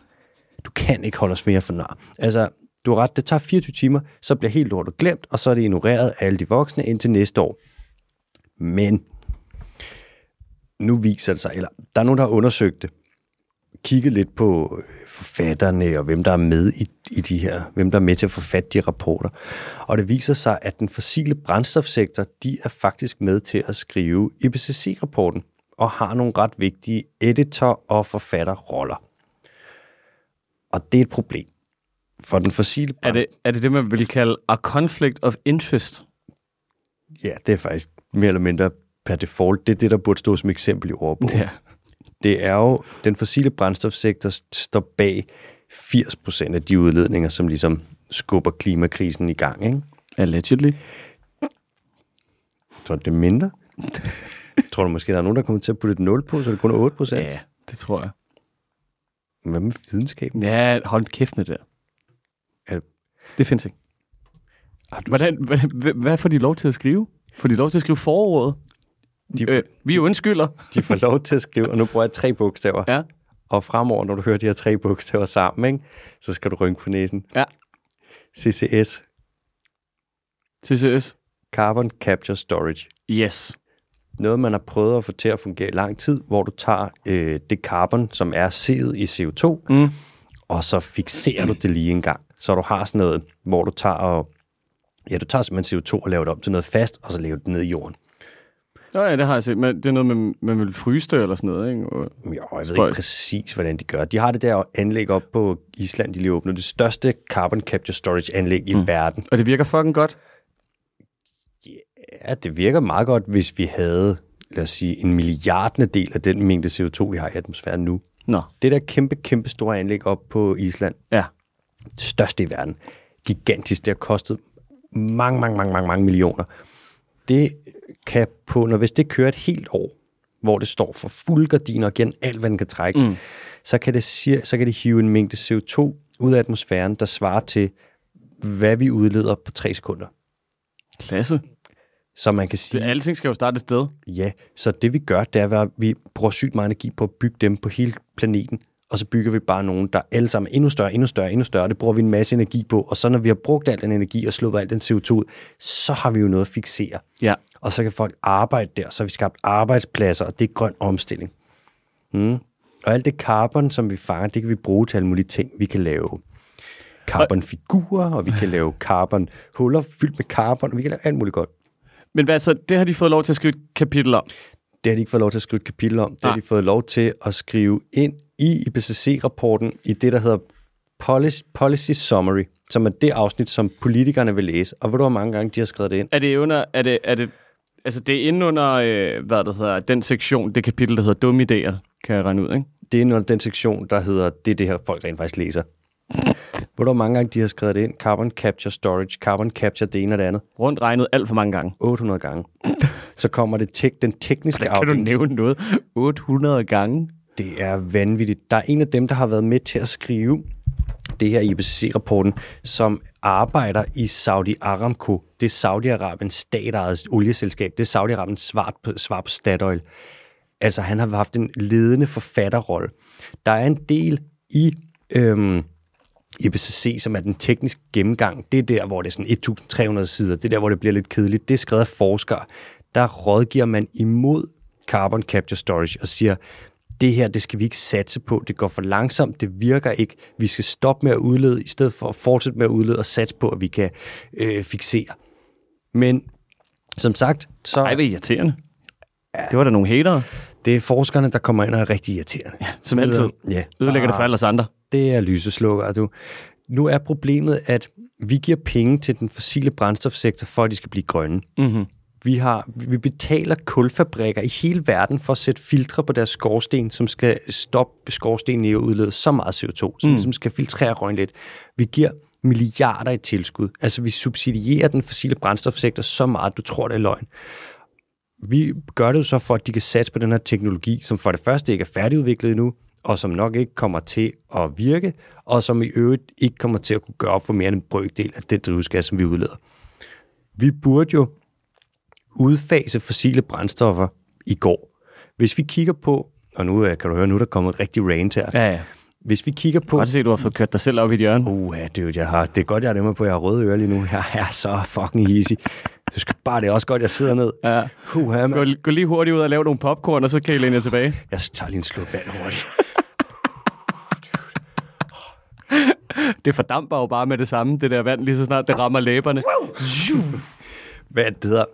[SPEAKER 1] Du kan ikke holde os mere for nar. Altså, du har ret, det tager 24 timer, så bliver helt lortet glemt, og så er det ignoreret af alle de voksne indtil næste år. Men nu viser det sig, eller der er nogen, der har undersøgt det, kigget lidt på øh, forfatterne og hvem der er med i, i de her, hvem der er med til at forfatte de rapporter. Og det viser sig, at den fossile brændstofsektor, de er faktisk med til at skrive IPCC-rapporten og har nogle ret vigtige editor- og forfatterroller. Og det er et problem for den fossile
[SPEAKER 2] Er
[SPEAKER 1] brændstof.
[SPEAKER 2] det, er det det, man vil kalde a conflict of interest?
[SPEAKER 1] Ja, det er faktisk mere eller mindre per default. Det er det, der burde stå som eksempel i ordbogen.
[SPEAKER 2] Ja.
[SPEAKER 1] det er jo, den fossile brændstofsektor st- står bag 80% af de udledninger, som ligesom skubber klimakrisen i gang, ikke?
[SPEAKER 2] Allegedly.
[SPEAKER 1] Tror du, det er mindre? Tror du måske, der er nogen, der kommer til at putte et 0 på, så det kun er 8%?
[SPEAKER 2] Ja, det tror jeg.
[SPEAKER 1] Hvad med videnskaben?
[SPEAKER 2] Ja, hold kæft med det der.
[SPEAKER 1] Er det-
[SPEAKER 2] Det findes ikke.
[SPEAKER 1] Har du
[SPEAKER 2] Hvordan, hvordan, hva- hvad får de lov til at skrive? Får de lov til at skrive forordet?
[SPEAKER 1] De-
[SPEAKER 2] De, øh, vi undskylder.
[SPEAKER 1] De får lov til at skrive, og nu bruger jeg tre bogstaver.
[SPEAKER 2] Ja.
[SPEAKER 1] Og fremover, når du hører de her tre bogstaver sammen, ikke? så skal du rynke på næsen.
[SPEAKER 2] Ja.
[SPEAKER 1] CCS,
[SPEAKER 2] CCS.
[SPEAKER 1] Carbon Capture Storage.
[SPEAKER 2] Yes.
[SPEAKER 1] noget, man har prøvet at få til at fungere i lang tid, hvor du tager øh, det carbon, som er seet i CO2,
[SPEAKER 2] Mm.
[SPEAKER 1] og så fixerer du det lige en gang. Så du har sådan noget, hvor du tager og, ja, du tager simpelthen CO2 og laver det om til noget fast, og så laver du det ned i jorden.
[SPEAKER 2] Nå ja, det har jeg set. Men det er noget, man, man vil fryse det eller sådan noget, ikke? Og-
[SPEAKER 1] Jo, jeg ved ikke
[SPEAKER 2] Spøjst.
[SPEAKER 1] præcis, hvordan de gør. De har det der anlæg op på Island, de lige åbner det største carbon capture storage anlæg i mm. verden.
[SPEAKER 2] Og det virker fucking godt.
[SPEAKER 1] Ja, det virker meget godt, hvis vi havde, lad os sige, en milliardende del af den mængde CO2, vi har i atmosfæren nu.
[SPEAKER 2] Nå,
[SPEAKER 1] Det der kæmpe, kæmpe store anlæg op på Island,
[SPEAKER 2] ja.
[SPEAKER 1] det største i verden. Gigantisk. Det har kostet mange, mange, mange, mange, mange millioner. Det kan på, når hvis det kører et helt år, hvor det står for fulde gardiner og igen alt, hvad den kan trække, mm. så, kan det, sir- så kan det hive en mængde CO2 ud af atmosfæren, der svarer til, hvad vi udleder på tre sekunder.
[SPEAKER 2] Klasse.
[SPEAKER 1] Så man kan sige,
[SPEAKER 2] Det, alting skal jo starte et sted.
[SPEAKER 1] Ja, så det vi gør, det er, at vi bruger sygt meget energi på at bygge dem på hele planeten, og så bygger vi bare nogen, der alle sammen er endnu større, endnu større, endnu større. Det bruger vi en masse energi på, og så når vi har brugt al den energi og sluppet al den CO2 ud, så har vi jo noget at fixere.
[SPEAKER 2] Ja.
[SPEAKER 1] Og så kan folk arbejde der, så har vi skabt arbejdspladser, og det er grøn omstilling. Mm. Og alt det carbon, som vi fanger, det kan vi bruge til alle mulige ting, vi kan lave carbonfigurer, og vi kan lave carbonhuller fyldt med carbon, og vi kan lave alt muligt godt.
[SPEAKER 2] Men hvad så? Det har de fået lov til at skrive et kapitel om.
[SPEAKER 1] Det har de ikke fået lov til at skrive et kapitel om. Det har
[SPEAKER 2] Nej.
[SPEAKER 1] de fået lov til at skrive ind i IPCC-rapporten i det, der hedder Policy, Policy Summary, som er det afsnit, som politikerne vil læse. Og ved du, hvor mange gange de har skrevet det ind?
[SPEAKER 2] Er det under... Er det, er det, altså, det er inde under, øh, hvad det hedder, den sektion, det kapitel, der hedder dumme idéer, kan jeg regne ud, ikke?
[SPEAKER 1] Det er under den sektion, der hedder, det er det her, folk rent faktisk læser. Ved du, hvor mange gange de har skrevet det ind? Carbon Capture Storage, Carbon Capture, det ene og det andet.
[SPEAKER 2] Rundt regnet alt for mange gange.
[SPEAKER 1] 800 gange. Så kommer det tek- den tekniske
[SPEAKER 2] Kan du
[SPEAKER 1] afdeling.
[SPEAKER 2] nævne noget? 800 gange?
[SPEAKER 1] Det er vanvittigt. Der er en af dem, der har været med til at skrive det her IPCC-rapporten, som arbejder i Saudi Aramco. Det er Saudi-Arabiens statejet olieselskab. Det er Saudi-Arabiens svar på, svar på Statoil. Altså, han har haft en ledende forfatterrolle. Der er en del i øhm, IPCC, som er den tekniske gennemgang. Det er der, hvor det er sådan 1300 sider. Det er der, hvor det bliver lidt kedeligt. Det er skrevet af forskere. Der rådgiver man imod carbon capture storage og siger, det her, det skal vi ikke satse på, det går for langsomt, det virker ikke, vi skal stoppe med at udlede, i stedet for at fortsætte med at udlede og satse på, at vi kan øh, fixere. Men som sagt, så
[SPEAKER 2] Ej, hvor irriterende. Det var da nogle hatere,
[SPEAKER 1] det er forskerne, der kommer ind og er rigtig irriterende. Ja,
[SPEAKER 2] som altid.
[SPEAKER 1] Ja,
[SPEAKER 2] Ødelægger det for alle os andre.
[SPEAKER 1] det er lyseslukker, du. Nu er problemet, at vi giver penge til den fossile brændstofsektor, for at de skal blive grønne. Mm-hmm. Vi, har, vi betaler kulfabrikker i hele verden for at sætte filtre på deres skorsten, som skal stoppe skorstenen i at udlede så meget CO2, som, mm. som skal filtrere røgen lidt. Vi giver milliarder i tilskud. Altså, vi subsidierer den fossile brændstofsektor så meget, du tror, det er løgn. Vi gør det jo så for, at de kan satse på den her teknologi, som for det første ikke er færdigudviklet endnu, og som nok ikke kommer til at virke, og som i øvrigt ikke kommer til at kunne gøre op for mere end en brøkdel af den drivhusgas, som vi udleder. Vi burde jo udfase fossile brændstoffer i går. Hvis vi kigger på, og nu øh, kan du høre, nu er der kommet et rigtig rant her.
[SPEAKER 2] Ja, ja.
[SPEAKER 1] Hvis vi kigger på...
[SPEAKER 2] Godt se, du har fået kørt dig selv op i et hjørne.
[SPEAKER 1] Uha, dude, jeg har, det er godt, jeg har det med på, at jeg har røde ører lige nu. Jeg er så fucking easy. Du skal bare, det er også godt, jeg sidder ned.
[SPEAKER 2] Ja.
[SPEAKER 1] Uha, man.
[SPEAKER 2] Gå, gå lige hurtigt ud og lave nogle popcorn, og så kan I læne jer tilbage.
[SPEAKER 1] Jeg tager lige en sluk vand hurtigt.
[SPEAKER 2] Det fordamper jo bare med det samme, det der vand, lige så snart det rammer læberne.
[SPEAKER 1] hvad det hedder,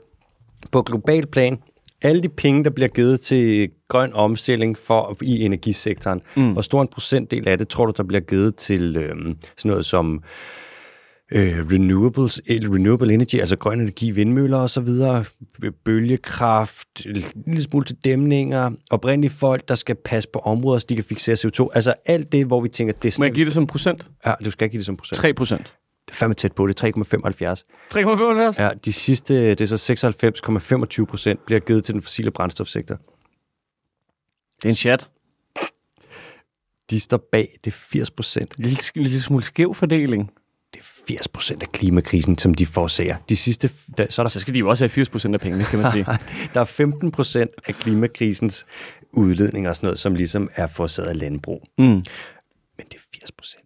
[SPEAKER 1] på global plan, alle de penge, der bliver givet til grøn omstilling for, i energisektoren, mm. hvor stor en procentdel af det, tror du, der bliver givet til øh, sådan noget som øh, renewables, eller renewable energy, altså grøn energi, vindmøller og så videre, bølgekraft, en lille smule til dæmninger, oprindelige folk, der skal passe på områder, så de kan fixere CO2. Altså alt det, hvor vi tænker, det er
[SPEAKER 2] Må jeg
[SPEAKER 1] sådan,
[SPEAKER 2] give det som procent?
[SPEAKER 1] ja, du skal ikke give det som procent.
[SPEAKER 2] 3 procent.
[SPEAKER 1] Det er fandme tæt på, det er 3,75.
[SPEAKER 2] 3,75?
[SPEAKER 1] Ja, de sidste, det er så 96,25 procent, bliver givet til den fossile brændstofsektor.
[SPEAKER 2] Det er en chat.
[SPEAKER 1] De står bag det er 80 procent.
[SPEAKER 2] Lille, lille smule skæv fordeling.
[SPEAKER 1] Det er 80 procent af klimakrisen, som de forårsager. De sidste, der, så er
[SPEAKER 2] Så
[SPEAKER 1] der,
[SPEAKER 2] skal de jo også have 80 procent af pengene, kan man sige.
[SPEAKER 1] der er 15 procent af klimakrisens udledning og sådan noget, som ligesom er forårsaget af landbrug. Mm. Men det er 80 procent.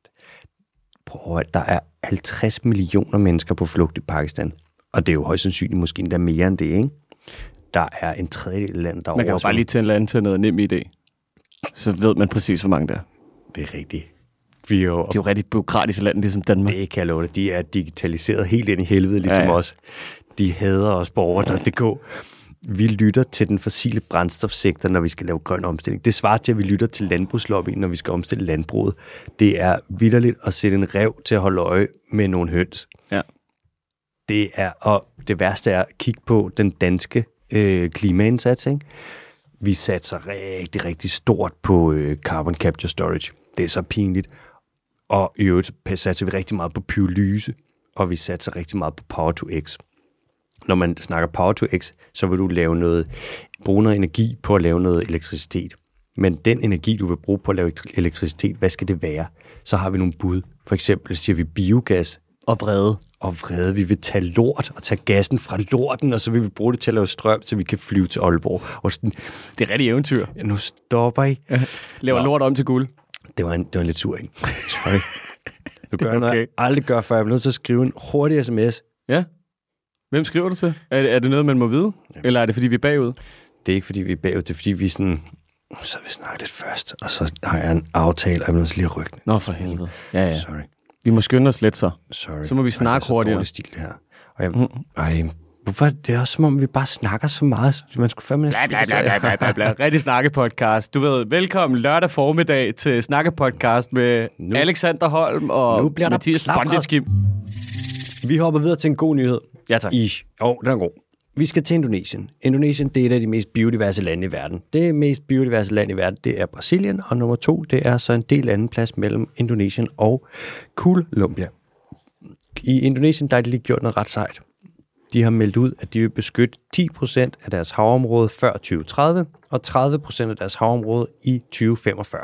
[SPEAKER 1] Prøv at høre, der er 50 millioner mennesker på flugt i Pakistan. Og det er jo højst sandsynligt måske endda mere end det, ikke? Der er en tredjedel af landet, der er
[SPEAKER 2] Man kan jo
[SPEAKER 1] oversvømmet.
[SPEAKER 2] bare lige tænde land til noget nem idé. Så ved man præcis, hvor mange der er.
[SPEAKER 1] Det er rigtigt. Vi er jo
[SPEAKER 2] Det er jo rigtig bureaukratisk land, ligesom Danmark.
[SPEAKER 1] Det kan jeg love dig. De er digitaliseret helt ind i helvede, ligesom ja,
[SPEAKER 2] Ja,
[SPEAKER 1] ja.
[SPEAKER 2] ja.
[SPEAKER 1] os. De hader os på over.dk. Vi lytter til den fossile brændstofsektor, når vi skal lave grøn omstilling. Det svarer til, at vi lytter til landbrugslobbyen, når vi skal omstille landbruget. Det er vidderligt at sætte en rev til at holde øje med nogle høns.
[SPEAKER 2] Ja.
[SPEAKER 1] Det er, og det værste er at kigge på den danske øh, klimaindsats. Ikke? Vi satser rigtig, rigtig stort på øh, carbon capture storage. Det er så pinligt. Og i øvrigt satser vi rigtig meget på pyrolyse, og vi satser rigtig meget på power to x. Når man snakker power to x, så vil du lave noget, bruge noget energi på at lave noget elektricitet. Men den energi, du vil bruge på at lave elektri- elektricitet, hvad skal det være? Så har vi nogle bud. For eksempel siger vi biogas,
[SPEAKER 2] Og vrede.
[SPEAKER 1] og vrede. Vi vil tage lort og tage gassen fra lorten, og så vil vi bruge det til at lave strøm, så vi kan flyve til Aalborg. Og sådan,
[SPEAKER 2] Det er rigtig eventyr.
[SPEAKER 1] nu stopper I.
[SPEAKER 2] Laver lort om til guld.
[SPEAKER 1] Det var en, det var en lidt sur en. Sorry. Du gør okay. noget,
[SPEAKER 2] okay.
[SPEAKER 1] jeg aldrig gør, før jeg bliver nødt til at skrive en hurtig sms.
[SPEAKER 2] Ja. Hvem skriver du til? Er, er det noget, man må vide? Eller er det, fordi vi er bagud?
[SPEAKER 1] Det er ikke, fordi vi er bagud, det er, fordi vi er sådan... Så har vi snakket lidt først, og så har jeg en aftale, og jeg bliver nødt til lige at rykke den.
[SPEAKER 2] Nå, for helvede. Ja, ja.
[SPEAKER 1] Sorry,
[SPEAKER 2] Vi må skynde os lidt så.
[SPEAKER 1] sorry.
[SPEAKER 2] Så må vi
[SPEAKER 1] ej, det er
[SPEAKER 2] snakke Mm.
[SPEAKER 1] så
[SPEAKER 2] hurtigere.
[SPEAKER 1] dårlig stil, det her. Og jeg, ej, hvorfor? Det er også som om, vi bare snakker så meget. Man skulle fandme...
[SPEAKER 2] Bla, bla, bla, bla, bla, bla, bla. Rigtig snakkepodcast. Du ved, velkommen lørdag formiddag til snakkepodcast med nu. Alexander Holm og
[SPEAKER 1] Nu bliver der
[SPEAKER 2] Mathias
[SPEAKER 1] plapret.
[SPEAKER 2] Bonditskim.
[SPEAKER 1] Vi hopper videre til en god nyhed.
[SPEAKER 2] Ja, tak.
[SPEAKER 1] I, jo, den er god. Vi skal til Indonesien. Indonesien, det er et af de mest biodiverse lande i verden. Det mest biodiverse land i verden, det er Brasilien, og nummer to, det er så en del anden plads mellem Indonesien og Colombia. I Indonesien, der er de lige gjort noget ret sejt. De har meldt ud, at de vil beskytte 10% af deres havområde før 2030, og 30% af deres havområde i 2045.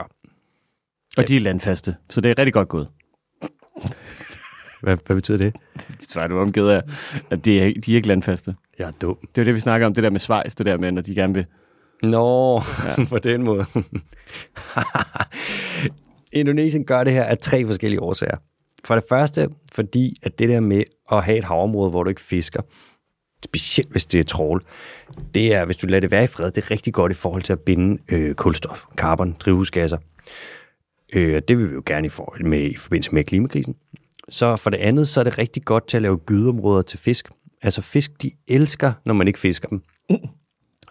[SPEAKER 2] Og de er landfaste, så det er rigtig godt gået.
[SPEAKER 1] Hvad, hvad betyder det?
[SPEAKER 2] Så er du omgivet af, at de er, de er ikke landfaste.
[SPEAKER 1] Jeg er dum.
[SPEAKER 2] Det er jo det, vi snakker om, det der med Schweiz, det der med, når de gerne vil.
[SPEAKER 1] Nå, ja. på den måde. Indonesien gør det her af tre forskellige årsager. For det første, fordi at det der med at have et havområde, hvor du ikke fisker, specielt hvis det er trål, det er, hvis du lader det være i fred, det er rigtig godt i forhold til at binde øh, kulstof, carbon, drivhusgasser. Øh, og det vil vi jo gerne i, for, med, i forbindelse med klimakrisen. Så for det andet, så er det rigtig godt til at lave gydeområder til fisk. Altså fisk, de elsker, når man ikke fisker dem.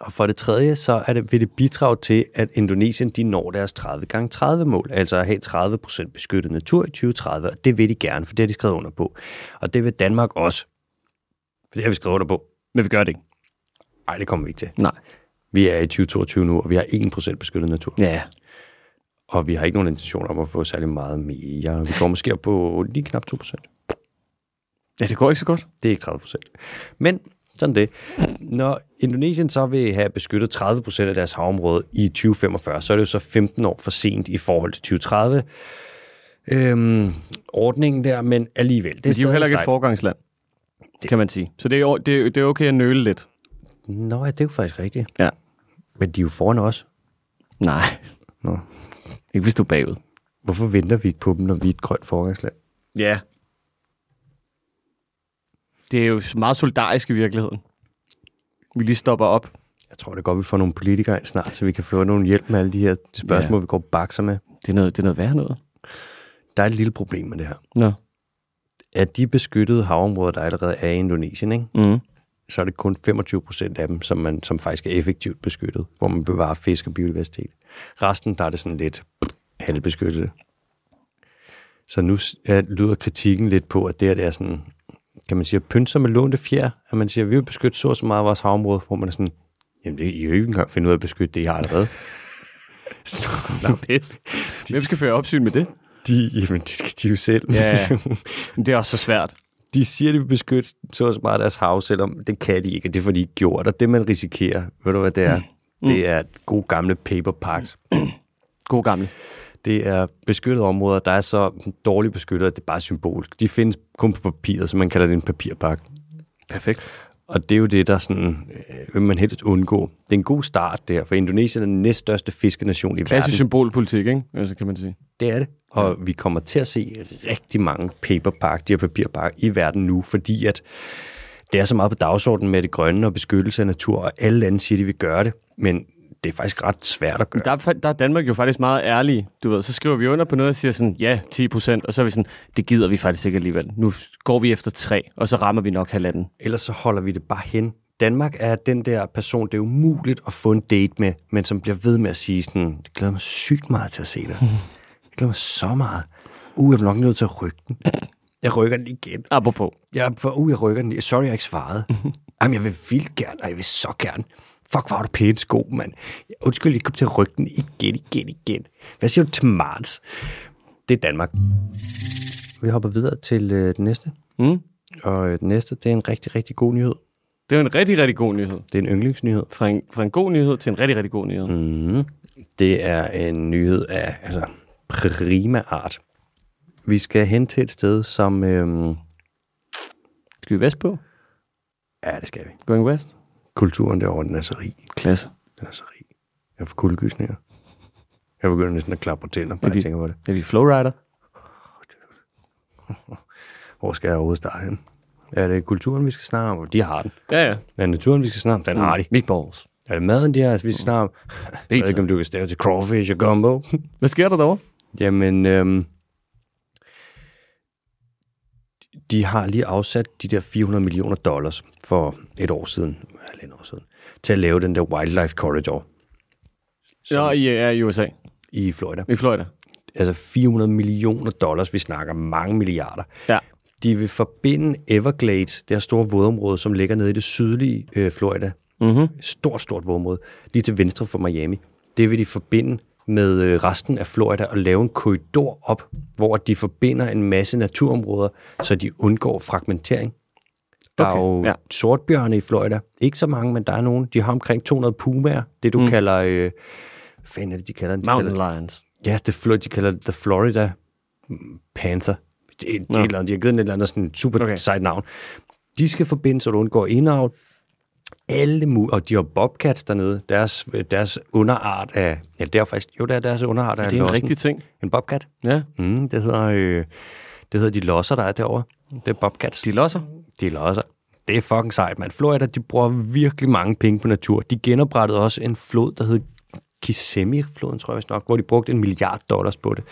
[SPEAKER 1] Og for det tredje, så er det, vil det bidrage til, at Indonesien de når deres 30 gange 30 mål, altså at have 30 beskyttet natur i 2030, og det vil de gerne, for det har de skrevet under på. Og det vil Danmark også, for det har vi skrevet under på.
[SPEAKER 2] Men vi gør det ikke.
[SPEAKER 1] Nej, det kommer vi ikke til.
[SPEAKER 2] Nej.
[SPEAKER 1] Vi er i 2022 nu, og vi har 1% beskyttet natur.
[SPEAKER 2] Ja.
[SPEAKER 1] Og vi har ikke nogen intention om at få særlig meget mere. Vi går måske op på lige knap 2%.
[SPEAKER 2] Ja, det går ikke så godt.
[SPEAKER 1] Det er ikke 30 procent. Men sådan det. Når Indonesien så vil have beskyttet 30 procent af deres havområde i 2045, så er det jo så 15 år for sent i forhold til 2030. Øhm, ordningen der, men alligevel. Det er,
[SPEAKER 2] Men de er jo
[SPEAKER 1] stadig
[SPEAKER 2] heller ikke et
[SPEAKER 1] sejt.
[SPEAKER 2] forgangsland, det. kan man sige. Så det er, o- det, er- det er okay at nøle lidt.
[SPEAKER 1] Nå, ja, det er jo faktisk rigtigt.
[SPEAKER 2] Ja.
[SPEAKER 1] Men de er jo foran os.
[SPEAKER 2] Nej.
[SPEAKER 1] Nå.
[SPEAKER 2] Ikke hvis du er bagud.
[SPEAKER 1] Hvorfor venter vi ikke på dem, når vi er et grønt forgangsland?
[SPEAKER 2] Ja. Det er jo meget solidarisk i virkeligheden. Vi lige stopper op.
[SPEAKER 1] Jeg tror det er godt, vi får nogle politikere ind snart, så vi kan få nogle hjælp med alle de her spørgsmål, ja. vi går og bakser med.
[SPEAKER 2] Det er noget, det er noget værre noget.
[SPEAKER 1] Der er et lille problem med det her.
[SPEAKER 2] Nå.
[SPEAKER 1] At de beskyttede havområder, der allerede er i Indonesien, ikke?
[SPEAKER 2] Mm.
[SPEAKER 1] så er det kun 25 procent af dem, som, man, som faktisk er effektivt beskyttet, hvor man bevarer fisk og biodiversitet. Resten, der er det sådan lidt pff, halvbeskyttelse. Så nu s- er, lyder kritikken lidt på, at det her det er sådan, kan man sige, at pynte sig med lånte fjer, at man siger, at vi vil beskytte så og så meget af vores havområde, hvor man er sådan, jamen det, I kan jo ikke engang finde ud af at beskytte det, I har allerede.
[SPEAKER 2] Så pis. Hvem skal føre opsyn med det?
[SPEAKER 1] De, jamen det skal de jo selv.
[SPEAKER 2] Ja. Men det er også så svært.
[SPEAKER 1] de siger, de vil beskytte så og så meget af deres hav, selvom det kan de ikke, og det får de ikke gjort. Og det, man risikerer, ved du hvad det er? Det er gode gamle paper parks.
[SPEAKER 2] God gammel.
[SPEAKER 1] Det er beskyttede områder, der er så dårligt beskyttet, at det er bare symbolsk. De findes kun på papiret, så man kalder det en papirpark.
[SPEAKER 2] Perfekt.
[SPEAKER 1] Og det er jo det, der sådan, øh, vil man helst undgå. Det er en god start der, for Indonesien er den næststørste fiskenation i
[SPEAKER 2] Klassisk
[SPEAKER 1] verden.
[SPEAKER 2] symbolpolitik, ikke? Altså, kan man sige.
[SPEAKER 1] Det er det. Og vi kommer til at se rigtig mange paperpark, de her papirpark i verden nu, fordi at det er så meget på dagsordenen med det grønne og beskyttelse af natur, og alle lande siger, de vil gøre det, men det er faktisk ret svært at gøre.
[SPEAKER 2] Der er, fa- der er Danmark jo faktisk meget ærlige, du ved. Så skriver vi under på noget og siger sådan, ja, 10 procent, og så er vi sådan, det gider vi faktisk ikke alligevel. Nu går vi efter tre, og så rammer vi nok halvanden.
[SPEAKER 1] ellers så holder vi det bare hen. Danmark er den der person, det er umuligt at få en date med, men som bliver ved med at sige sådan, det glæder mig sygt meget til at se dig. Jeg glæder mig så meget. Uh, jeg bliver nok nødt til at rykke den. Jeg rykker den igen.
[SPEAKER 2] Apropos.
[SPEAKER 1] Jeg, for, uh, jeg rykker den. lige. Sorry, jeg har ikke svaret. Jamen, jeg vil vildt gerne, og jeg vil så gerne. Fuck, hvor har du pæne sko, mand. Jeg- Undskyld, jeg kom til at rykke den igen, igen, igen. Hvad siger du til marts? Det er Danmark. Vi hopper videre til øh, den næste.
[SPEAKER 2] Mm.
[SPEAKER 1] Og øh, den næste, det er en rigtig, rigtig god nyhed.
[SPEAKER 2] Det er jo en rigtig, rigtig god nyhed.
[SPEAKER 1] Det er en yndlingsnyhed.
[SPEAKER 2] Fra en, fra en god nyhed til en rigtig, rigtig god nyhed. Mm.
[SPEAKER 1] Mm. Det er en nyhed af altså, prima art. Vi skal hen til et sted, som... Øhm,
[SPEAKER 2] Skal vi vest på?
[SPEAKER 1] ja, det skal vi.
[SPEAKER 2] Going west?
[SPEAKER 1] Kulturen derovre, den er så rig.
[SPEAKER 2] Klasse.
[SPEAKER 1] Den er så rig. Jeg får kuldegysninger. Jeg begynder næsten at klappe på tænder, bare
[SPEAKER 2] Det er
[SPEAKER 1] jeg tænker på det.
[SPEAKER 2] Er vi flowrider?
[SPEAKER 1] Hvor skal jeg overhovedet starte hen? Er det kulturen, vi skal snakke om? De har den.
[SPEAKER 2] Ja, ja.
[SPEAKER 1] Er det naturen, vi skal snakke om? Den har de.
[SPEAKER 2] Meatballs.
[SPEAKER 1] Er det maden, de har? Vi skal snakke om... Jeg ved ikke, om du kan stave til crawfish og gumbo.
[SPEAKER 2] Hvad sker der derovre?
[SPEAKER 1] Jamen, øhm, de har lige afsat de der 400 millioner dollars for et år siden, eller et år siden, til at lave den der Wildlife Corridor
[SPEAKER 2] Ja, i, ja, i USA.
[SPEAKER 1] i Florida.
[SPEAKER 2] I Florida.
[SPEAKER 1] Altså 400 millioner dollars, vi snakker mange milliarder.
[SPEAKER 2] Ja.
[SPEAKER 1] De vil forbinde Everglades, det her store vådområde, som ligger nede i det sydlige øh, Florida. Mm-hmm. Stort, stort vådområde. Lige til venstre for Miami. Det vil de forbinde med øh, resten af Florida og lave en korridor op, hvor de forbinder en masse naturområder, så de undgår fragmentering. Der okay, er jo
[SPEAKER 2] ja.
[SPEAKER 1] ja. sortbjørne i Florida. Ikke så mange, men der er nogen. De har omkring 200 pumaer. Det du mm. kalder... Øh, hvad fanden er det, de kalder den? De kalder,
[SPEAKER 2] Mountain lions.
[SPEAKER 1] Ja, det Florida, de kalder det The Florida Panther. Det, er- det er et eller andet, de har givet den et eller andet sådan super
[SPEAKER 2] Okay.
[SPEAKER 1] okay. sejt navn. De skal forbinde, så du undgår indavl. Alle mu- og de har bobcats dernede. Deres, deres underart af... Ja, det er faktisk... Jo, det er deres underart af
[SPEAKER 2] Det er en
[SPEAKER 1] lossen.
[SPEAKER 2] rigtig ting.
[SPEAKER 1] En bobcat.
[SPEAKER 2] Ja.
[SPEAKER 1] Mm, det hedder... Øh, det hedder de losser, der er derovre. Det er bobcats.
[SPEAKER 2] De losser.
[SPEAKER 1] De er losser. Det er fucking sejt, mand. Florida, de bruger virkelig mange penge på natur. De genoprettede også en flod, der hed Kissimmee-floden, tror jeg vist nok, hvor de brugte en milliard dollars på det.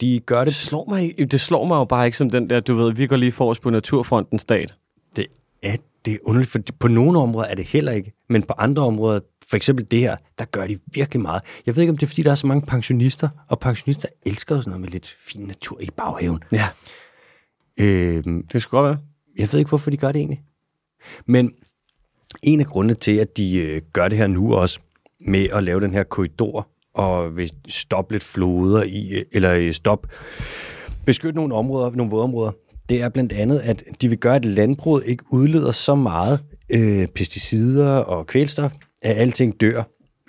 [SPEAKER 1] De gør
[SPEAKER 2] Det
[SPEAKER 1] det...
[SPEAKER 2] slår, mig, ikke- det slår mig jo bare ikke som den der, du ved, vi går lige forrest på Naturfrontens stat.
[SPEAKER 1] Det er, det er underligt, for på nogle områder er det heller ikke, men på andre områder, for eksempel det her, der gør de virkelig meget. Jeg ved ikke, om det er, fordi der er så mange pensionister, og pensionister elsker jo sådan noget med lidt fin natur i baghaven.
[SPEAKER 2] Ja.
[SPEAKER 1] Øhm,
[SPEAKER 2] Det skulle godt være.
[SPEAKER 1] Jeg ved ikke, hvorfor de gør det egentlig. Men en af grundene til, at de øh, gør det her nu også, med at lave den her korridor, og vil stoppe lidt floder i, øh, eller øh, stoppe, beskytte nogle områder, nogle vådområder, det er blandt andet, at de vil gøre, at landbruget ikke udleder så meget øh, pesticider og kvælstof, at alting dør,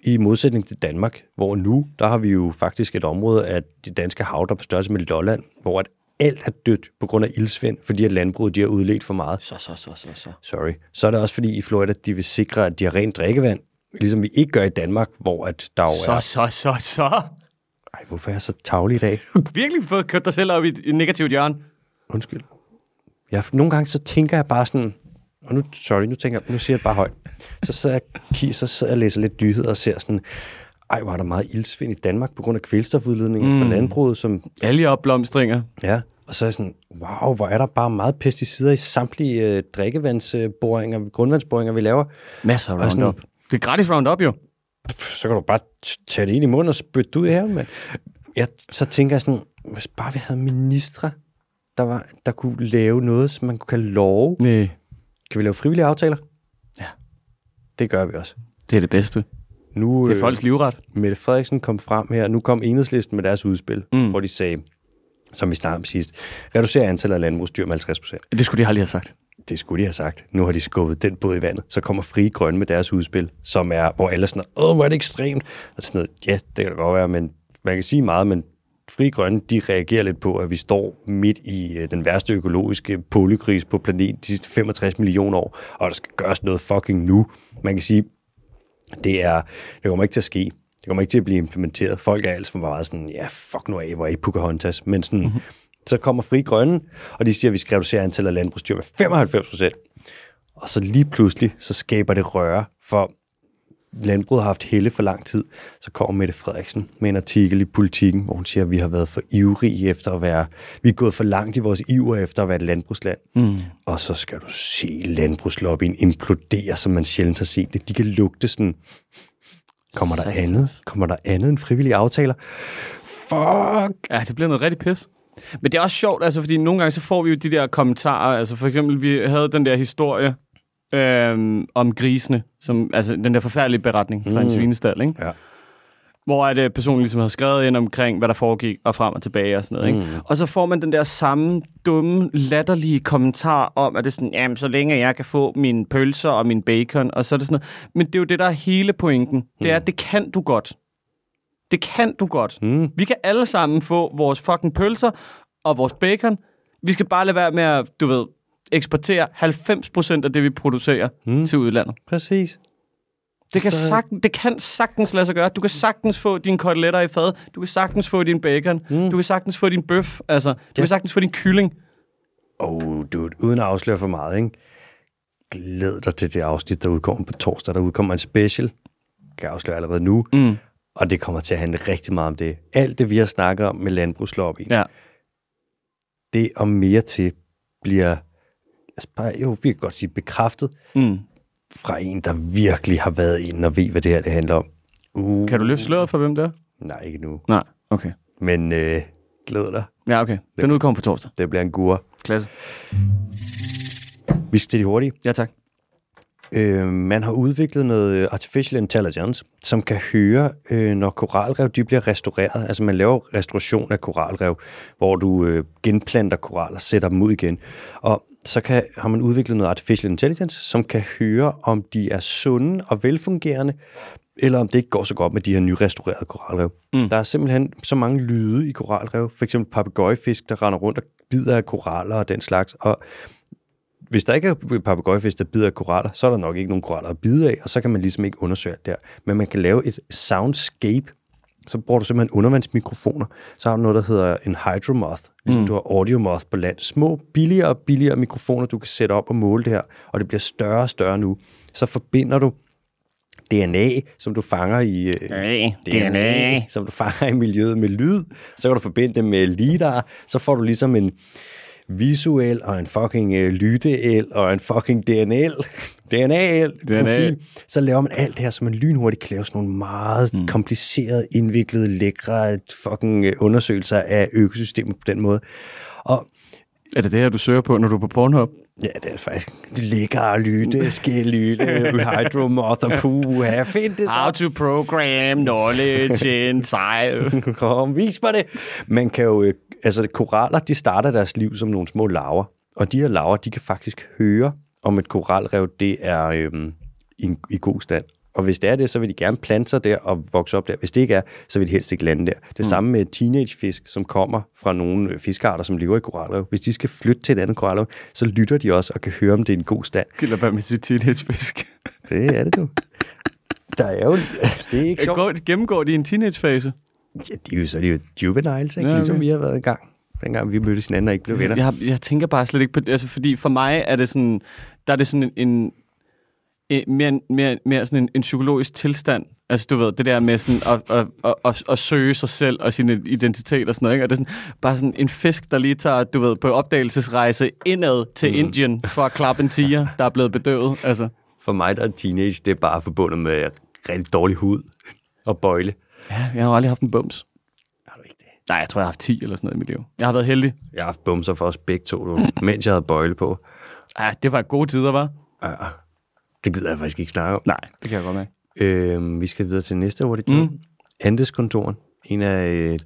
[SPEAKER 1] i modsætning til Danmark, hvor nu, der har vi jo faktisk et område af det danske hav, der er på størrelse med Lolland, hvor at alt er dødt på grund af ildsvind, fordi at landbruget de har udledt for meget.
[SPEAKER 2] Så, så, så, så, så.
[SPEAKER 1] Sorry. Så er det også fordi i Florida, de vil sikre, at de har rent drikkevand, ligesom vi ikke gør i Danmark, hvor at der jo
[SPEAKER 2] Så,
[SPEAKER 1] er...
[SPEAKER 2] så, så, så.
[SPEAKER 1] Ej, hvorfor er jeg så tavlig i dag?
[SPEAKER 2] Du har virkelig fået kørt dig selv op i et et negativt hjørne.
[SPEAKER 1] Undskyld. Jeg, nogle gange så tænker jeg bare sådan... Og nu, sorry, nu tænker jeg, nu siger jeg det bare højt. Så sidder jeg, ki- så sidder jeg og læser lidt nyheder og ser sådan... Ej, hvor er der meget ildsvind i Danmark på grund af kvælstofudledninger mm. fra landbruget, som
[SPEAKER 2] Alle opblomstringer.
[SPEAKER 1] Ja, og så er jeg sådan, wow, hvor er der bare meget pesticider i samtlige øh, drikkevandsboringer, grundvandsboringer, vi laver.
[SPEAKER 2] Masser af
[SPEAKER 1] Og sådan-
[SPEAKER 2] Roundup. Det er gratis Roundup, jo.
[SPEAKER 1] Pff, så kan du bare t- tage det ind i munden og spytte det ud i haven, mand. Jeg, så tænker jeg sådan, hvis bare vi havde ministre, der, var, der kunne lave noget, som man kunne love.
[SPEAKER 2] Nej.
[SPEAKER 1] Kan vi lave frivillige aftaler?
[SPEAKER 2] Ja.
[SPEAKER 1] Det gør vi også.
[SPEAKER 2] Det er det bedste.
[SPEAKER 1] Nu, øh,
[SPEAKER 2] Det er folks livret.
[SPEAKER 1] Mette Frederiksen kom frem her, nu kom enhedslisten med deres udspil,
[SPEAKER 2] Mm.
[SPEAKER 1] mm. hvor de sagde, som vi snakkede om sidst, reducere antallet af landbrugsdyr med 50 procent.
[SPEAKER 2] Det skulle de aldrig have sagt.
[SPEAKER 1] det skulle de have sagt. Nu har de skubbet den båd i vandet. Så kommer Frie Grønne med deres udspil, som er, hvor alle er sådan, åh, hvor er det ekstremt. Og sådan noget, ja, det kan da godt være, men man kan sige meget, men Frie Grønne, de reagerer lidt på, at vi står midt i øh, den værste økologiske polykris på planeten de sidste 65 millioner år, og der skal gøres noget fucking nu. Man kan sige, det, er, det kommer ikke til at ske. Det kommer ikke til at blive implementeret. Folk er alt for meget sådan, ja, fuck nu af, hvor er I Pocahontas? Men sådan, mm-hmm. så kommer Fri Grønne, og de siger, at vi skal reducere antallet af landbrugsdyr med 95 procent. Og så lige pludselig, så skaber det røre, for landbruget har haft helle for lang tid. Så kommer Mette Frederiksen med en artikel i Politiken, hvor hun siger, at vi har været for ivrige efter at være, vi er gået for langt i vores iver efter at være et landbrugsland. Mm. Og så skal du se landbrugslobbyen implodere, som man sjældent har set det. De kan lugte sådan, kommer der
[SPEAKER 2] Satans.
[SPEAKER 1] andet? Kommer der andet end frivillige aftaler? Fuck!
[SPEAKER 2] Ja, det bliver noget rigtig pis. Men det er også sjovt, altså, fordi nogle gange så får vi jo de der kommentarer. Altså for eksempel, vi havde den der historie øhm, om grisene. Som, altså den der forfærdelige beretning fra mm. en svinestald, ikke?
[SPEAKER 1] Ja.
[SPEAKER 2] Hvor at, øh, personen ligesom havde skrevet ind omkring, hvad der foregik, og frem og tilbage og sådan noget. Ikke? Mm. Og så får man den der samme dumme, latterlige kommentar om, at det er sådan, jamen så længe jeg kan få mine pølser og min bacon, og så er det sådan noget. Men det er jo det, der er hele pointen. Det er, at det kan du godt. Det kan du godt. Mm. Vi kan alle sammen få vores fucking pølser og vores bacon. Vi skal bare lade være med at, du ved, eksportere 90% af det, vi producerer mm. til udlandet.
[SPEAKER 1] Præcis.
[SPEAKER 2] Det kan,
[SPEAKER 1] Så-
[SPEAKER 2] sagtens, det kan sagtens lade sig gøre. Du kan sagtens få dine koteletter i fad. Du kan sagtens få din bacon. Mm. Du kan sagtens få din bøf. Altså, du kan sagtens få din kylling.
[SPEAKER 1] Oh, dude, uden at afsløre for meget, ikke? Glæd dig til det afsnit, der udkommer på torsdag. Der udkommer en special, kan jeg afsløre allerede nu. Mm. Og det kommer til at handle rigtig meget om det. Alt det, vi har snakket om med landbrugslobbyen, ja.
[SPEAKER 2] Ja.
[SPEAKER 1] det og mere til bliver, altså bare, jo, vi kan godt sige bekræftet,
[SPEAKER 2] Mm.
[SPEAKER 1] fra en, der virkelig har været inde og ved, hvad det her det handler om. Uh,
[SPEAKER 2] Kan du løfte sløret for, hvem det er?
[SPEAKER 1] nej, ikke nu.
[SPEAKER 2] Nej, okay.
[SPEAKER 1] Men øh, glæd dig.
[SPEAKER 2] Ja, okay. Den udkommer på torsdag.
[SPEAKER 1] Det bliver en gur.
[SPEAKER 2] Klasse.
[SPEAKER 1] Vi skal til de hurtige.
[SPEAKER 2] Ja, tak.
[SPEAKER 1] Øh, man har udviklet noget øh, artificial intelligence, som kan høre, øh, når koralrev de bliver restaureret. Altså man laver restauration af koralrev, hvor du øh, genplanter koraller, sætter dem ud igen. Og så kan, har man udviklet noget artificial intelligence, som kan høre, om de er sunde og velfungerende, eller om det ikke går så godt med de her nyrestaurerede koralrev. Mm. Der er simpelthen så mange lyde i koralrev, for eksempel papegøjefisk, der render rundt og bider af koraller og den slags. Og hvis der ikke er papegøjefisk, der bider af koraller, så er der nok ikke nogen koraller at bide af, og så kan man ligesom ikke undersøge det der. Men man kan lave et soundscape så bruger du simpelthen undervandsmikrofoner. Så har du noget, der hedder en hydromoth, ligesom mm. du har audiomoth på land. Små, billigere og billigere mikrofoner, du kan sætte op og måle det her, og det bliver større og større nu. Så forbinder du DNA, som du fanger i øh, DNA, som du fanger i miljøet med lyd, så kan du forbinde det med lidar, så får du ligesom en visuel og en fucking øh, lyteel og en fucking DNL, DNAL,
[SPEAKER 2] DNA.
[SPEAKER 1] profil, så laver man alt det her, så man lynhurtigt kan lave sådan nogle meget mm. komplicerede, indviklede, lækre fucking øh, undersøgelser af økosystemet på den måde. Og
[SPEAKER 2] Er det det her, du søger på, når du er på Pornhub?
[SPEAKER 1] Ja, det er faktisk lækker lytte, skal lytte, hydromoth og puha, find det så.
[SPEAKER 2] to program knowledge in science.
[SPEAKER 1] Kom, vis mig det. Man kan jo, øh, altså koraller, de starter deres liv som nogle små laver, og de her laver, de kan faktisk høre, om et koralrev, det er øhm, i, en- i god stand. Og hvis det er det, så vil de gerne plante sig der og vokse op der. Hvis det ikke er, så vil de helst ikke lande der. Det samme med teenagefisk, som kommer fra nogle øh, fiskearter, som lever i koralrev. Hvis de skal flytte til et andet koralrev, så lytter de også og kan høre, om det er en god stand.
[SPEAKER 2] Gilder bare med sit teenagefisk.
[SPEAKER 1] Det er det, du. Der er jo... Det er ikke sjovt.
[SPEAKER 2] Går, gennemgår de en teenagefase?
[SPEAKER 1] Ja, de er jo så de er jo juveniles, ikke?
[SPEAKER 2] Ja,
[SPEAKER 1] Ja,
[SPEAKER 2] okay.
[SPEAKER 1] ligesom vi har været i gang. Dengang vi mødtes hinanden og ikke blev venner.
[SPEAKER 2] Jeg, har- jeg tænker bare slet ikke på det. Altså, fordi for mig er det sådan, der er det sådan en, en en- mere, mere, mere sådan en, en psykologisk tilstand. Altså, du ved, det der med sådan at, at, at, at, at søge sig selv og sin identitet og sådan noget, ikke? Og det er sådan, bare sådan en fisk, der lige tager, du ved, på opdagelsesrejse indad til mm. Indien for at klappe en tiger, der er blevet bedøvet. Altså,
[SPEAKER 1] For mig, der er teenage, det er bare forbundet med rigtig dårlig hud og bøjle.
[SPEAKER 2] ja, jeg har jo aldrig haft en bums.
[SPEAKER 1] Har du ikke det?
[SPEAKER 2] Nej, jeg tror, jeg har haft 10 eller sådan noget i mit liv. Jeg har været heldig.
[SPEAKER 1] Jeg har haft bumser for os begge to, du, mens jeg havde bøjle på.
[SPEAKER 2] Ja, det var gode tider, var.
[SPEAKER 1] Ja, det gider jeg faktisk ikke snakke om.
[SPEAKER 2] Nej, det kan jeg godt mærke.
[SPEAKER 1] Øhm, vi skal videre til næste hurtigt. Mm. Andeskontoren. En af øh,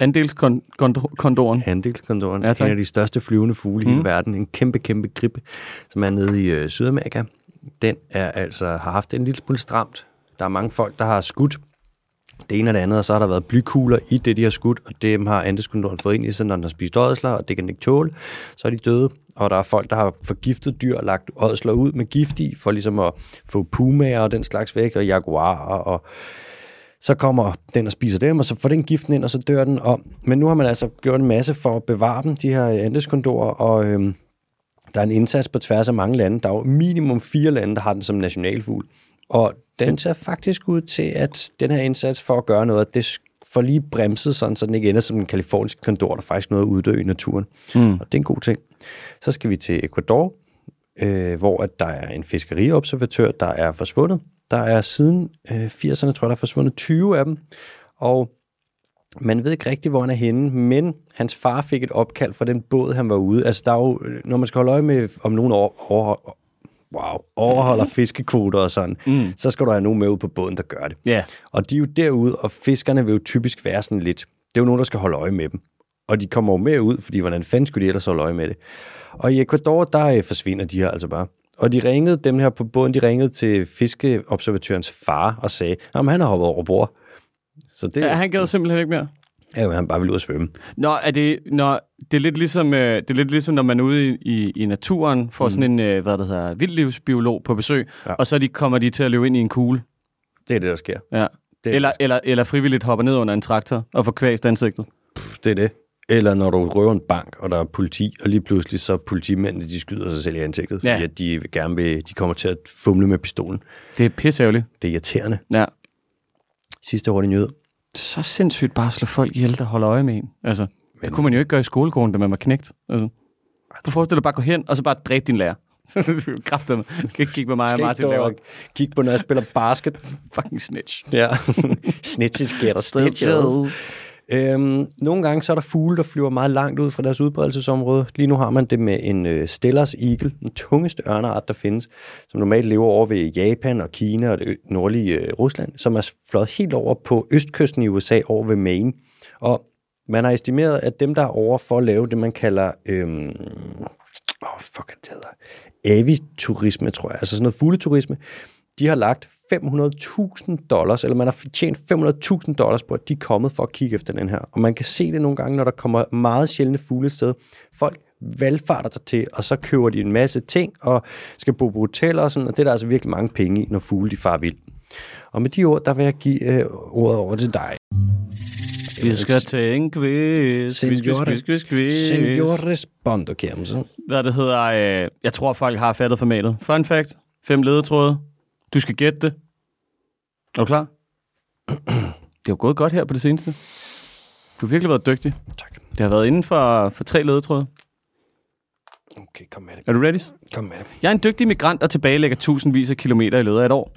[SPEAKER 2] Andelskondoren.
[SPEAKER 1] Handelskontoren,
[SPEAKER 2] Ja,
[SPEAKER 1] ja,
[SPEAKER 2] tak. Mm.
[SPEAKER 1] en af de største flyvende fugle i hele verden, en kæmpe, kæmpe gribe, som er nede i øh, Sydamerika. Den er altså, har haft en lille smule stramt. Der er mange folk, der har skudt det ene og det andet, og så har der været blykugler i det, de har skudt, og dem har Andeskontoren fået ind i sig, når den har spist ådsler, og det kan den ikke tåle. Så er de døde, og der er folk, der har forgiftet dyr og lagt ådsler ud med gift i, for ligesom at få pumaer og den slags væk, og jaguarer og så kommer den og spiser dem, og så får den giften ind, og så dør den om. Men nu har man altså gjort en masse for at bevare dem, de her andeskondorer, og øhm, der er en indsats på tværs af mange lande. Der er jo minimum fire lande, der har den som nationalfugl. Og den ser faktisk ud til, at den her indsats for at gøre noget, det sk- får lige bremset sådan, så den ikke ender som en kalifornisk kondor, der faktisk nåede at uddø i naturen. Mm. Og det er en god ting. Så skal vi til Ecuador, øh, hvor at der er en fiskeriobservatør, der er forsvundet. Der er siden øh, 80'erne, tror jeg, der er forsvundet 20 af dem. Og man ved ikke rigtigt, hvor han er henne, men hans far fik et opkald fra den båd, han var ude. Altså, der er jo, øh, når man skal holde øje med, om nogen over, over, wow, overholder fiskekvoter og sådan, mm. så skal du have nogen med ud på båden, der gør det.
[SPEAKER 2] Ja.
[SPEAKER 1] Og de er jo derude, og fiskerne vil jo typisk være sådan lidt, det er jo nogen, der skal holde øje med dem. Og de kommer jo med ud, fordi hvordan fanden skulle de ellers holde øje med det? Og i Ecuador, der øh, forsvinder de her altså bare. Og de ringede, dem her på båden, de ringede til fiskeobservatørens far og sagde, at han har hoppet over bord. Så det
[SPEAKER 2] Ja,
[SPEAKER 1] er
[SPEAKER 2] han gad simpelthen ikke mere.
[SPEAKER 1] jo, han bare ville ud at svømme.
[SPEAKER 2] Nå, er det, nå, det, er lidt ligesom, øh, det er lidt ligesom, når man er ude i, i, i naturen, får mm. sådan en, øh, hvad det hedder, vildlivsbiolog på besøg, ja. og så de, kommer de til at løbe ind i en kugle.
[SPEAKER 1] Det er det, der sker.
[SPEAKER 2] Ja.
[SPEAKER 1] Det er-
[SPEAKER 2] Eller, eller, eller frivilligt hopper ned under en traktor og får kvæst ansigtet.
[SPEAKER 1] Pff, det er det. Eller når du røver en bank, og der er politi, og lige pludselig så politimændene, de skyder sig selv i ansigtet,
[SPEAKER 2] Ja.
[SPEAKER 1] ja. fordi at de vil gerne vil, de kommer til at fumle med pistolen.
[SPEAKER 2] Det er pisseærgerligt.
[SPEAKER 1] Det er irriterende.
[SPEAKER 2] Ja.
[SPEAKER 1] Sidste hurtige nyhed.
[SPEAKER 2] Så sindssygt bare at slå folk ihjel, der holder øje med en. Altså, Men... Det kunne man jo ikke gøre i skolegården, da man var knægt. Altså. Du forestiller dig bare at gå hen, og så bare dræbe din lærer. Kræfter mig. Kan ikke kigge på mig og
[SPEAKER 1] Skal
[SPEAKER 2] Martin laver.
[SPEAKER 1] kigge på, når jeg spiller basket.
[SPEAKER 2] Fucking snitch.
[SPEAKER 1] ja. Snitches getter Øhm, nogle gange så er der fugle, der flyver meget langt ud fra deres udbredelsesområde. Lige nu har man det med en øh, Stellers eagle, den tungeste ørneart, der findes, som normalt lever over ved Japan og Kina og det ø- nordlige øh, Rusland, som er fløjet helt over på østkysten i USA over ved Maine. Og man har estimeret, at dem, der er over for at lave det, man kalder... Øhm, oh, fuck, hvad det hedder. Aviturisme, tror jeg. Altså sådan noget fugleturisme. De har lagt 500.000 dollars, eller man har tjent 500.000 dollars på, at de er kommet for at kigge efter den her. Og man kan se det nogle gange, når der kommer meget sjældne fugle et sted. Folk valgfarter sig til, og så køber de en masse ting, og skal bo på hoteller og sådan, og det er der altså virkelig mange penge i, når fugle de far vild. Og med de ord, der vil jeg give øh, ordet over til dig.
[SPEAKER 2] Vi skal til en quiz. Quiz, quiz,
[SPEAKER 1] Senor-
[SPEAKER 2] quiz, quiz, quiz.
[SPEAKER 1] Senor Respondo, Kjermsen.
[SPEAKER 2] Hvad det hedder, øh, jeg tror folk har fattet formatet. Fun fact, fem ledetråde. Du skal gætte det. Er du klar? Det har gået godt her på det seneste. Du har virkelig været dygtig.
[SPEAKER 1] Tak.
[SPEAKER 2] Det har været inden for, for tre ledetråde.
[SPEAKER 1] Okay, kom med det.
[SPEAKER 2] Er du ready?
[SPEAKER 1] Kom med det.
[SPEAKER 2] Jeg er en dygtig migrant, der tilbagelægger tusindvis af kilometer i løbet af et år.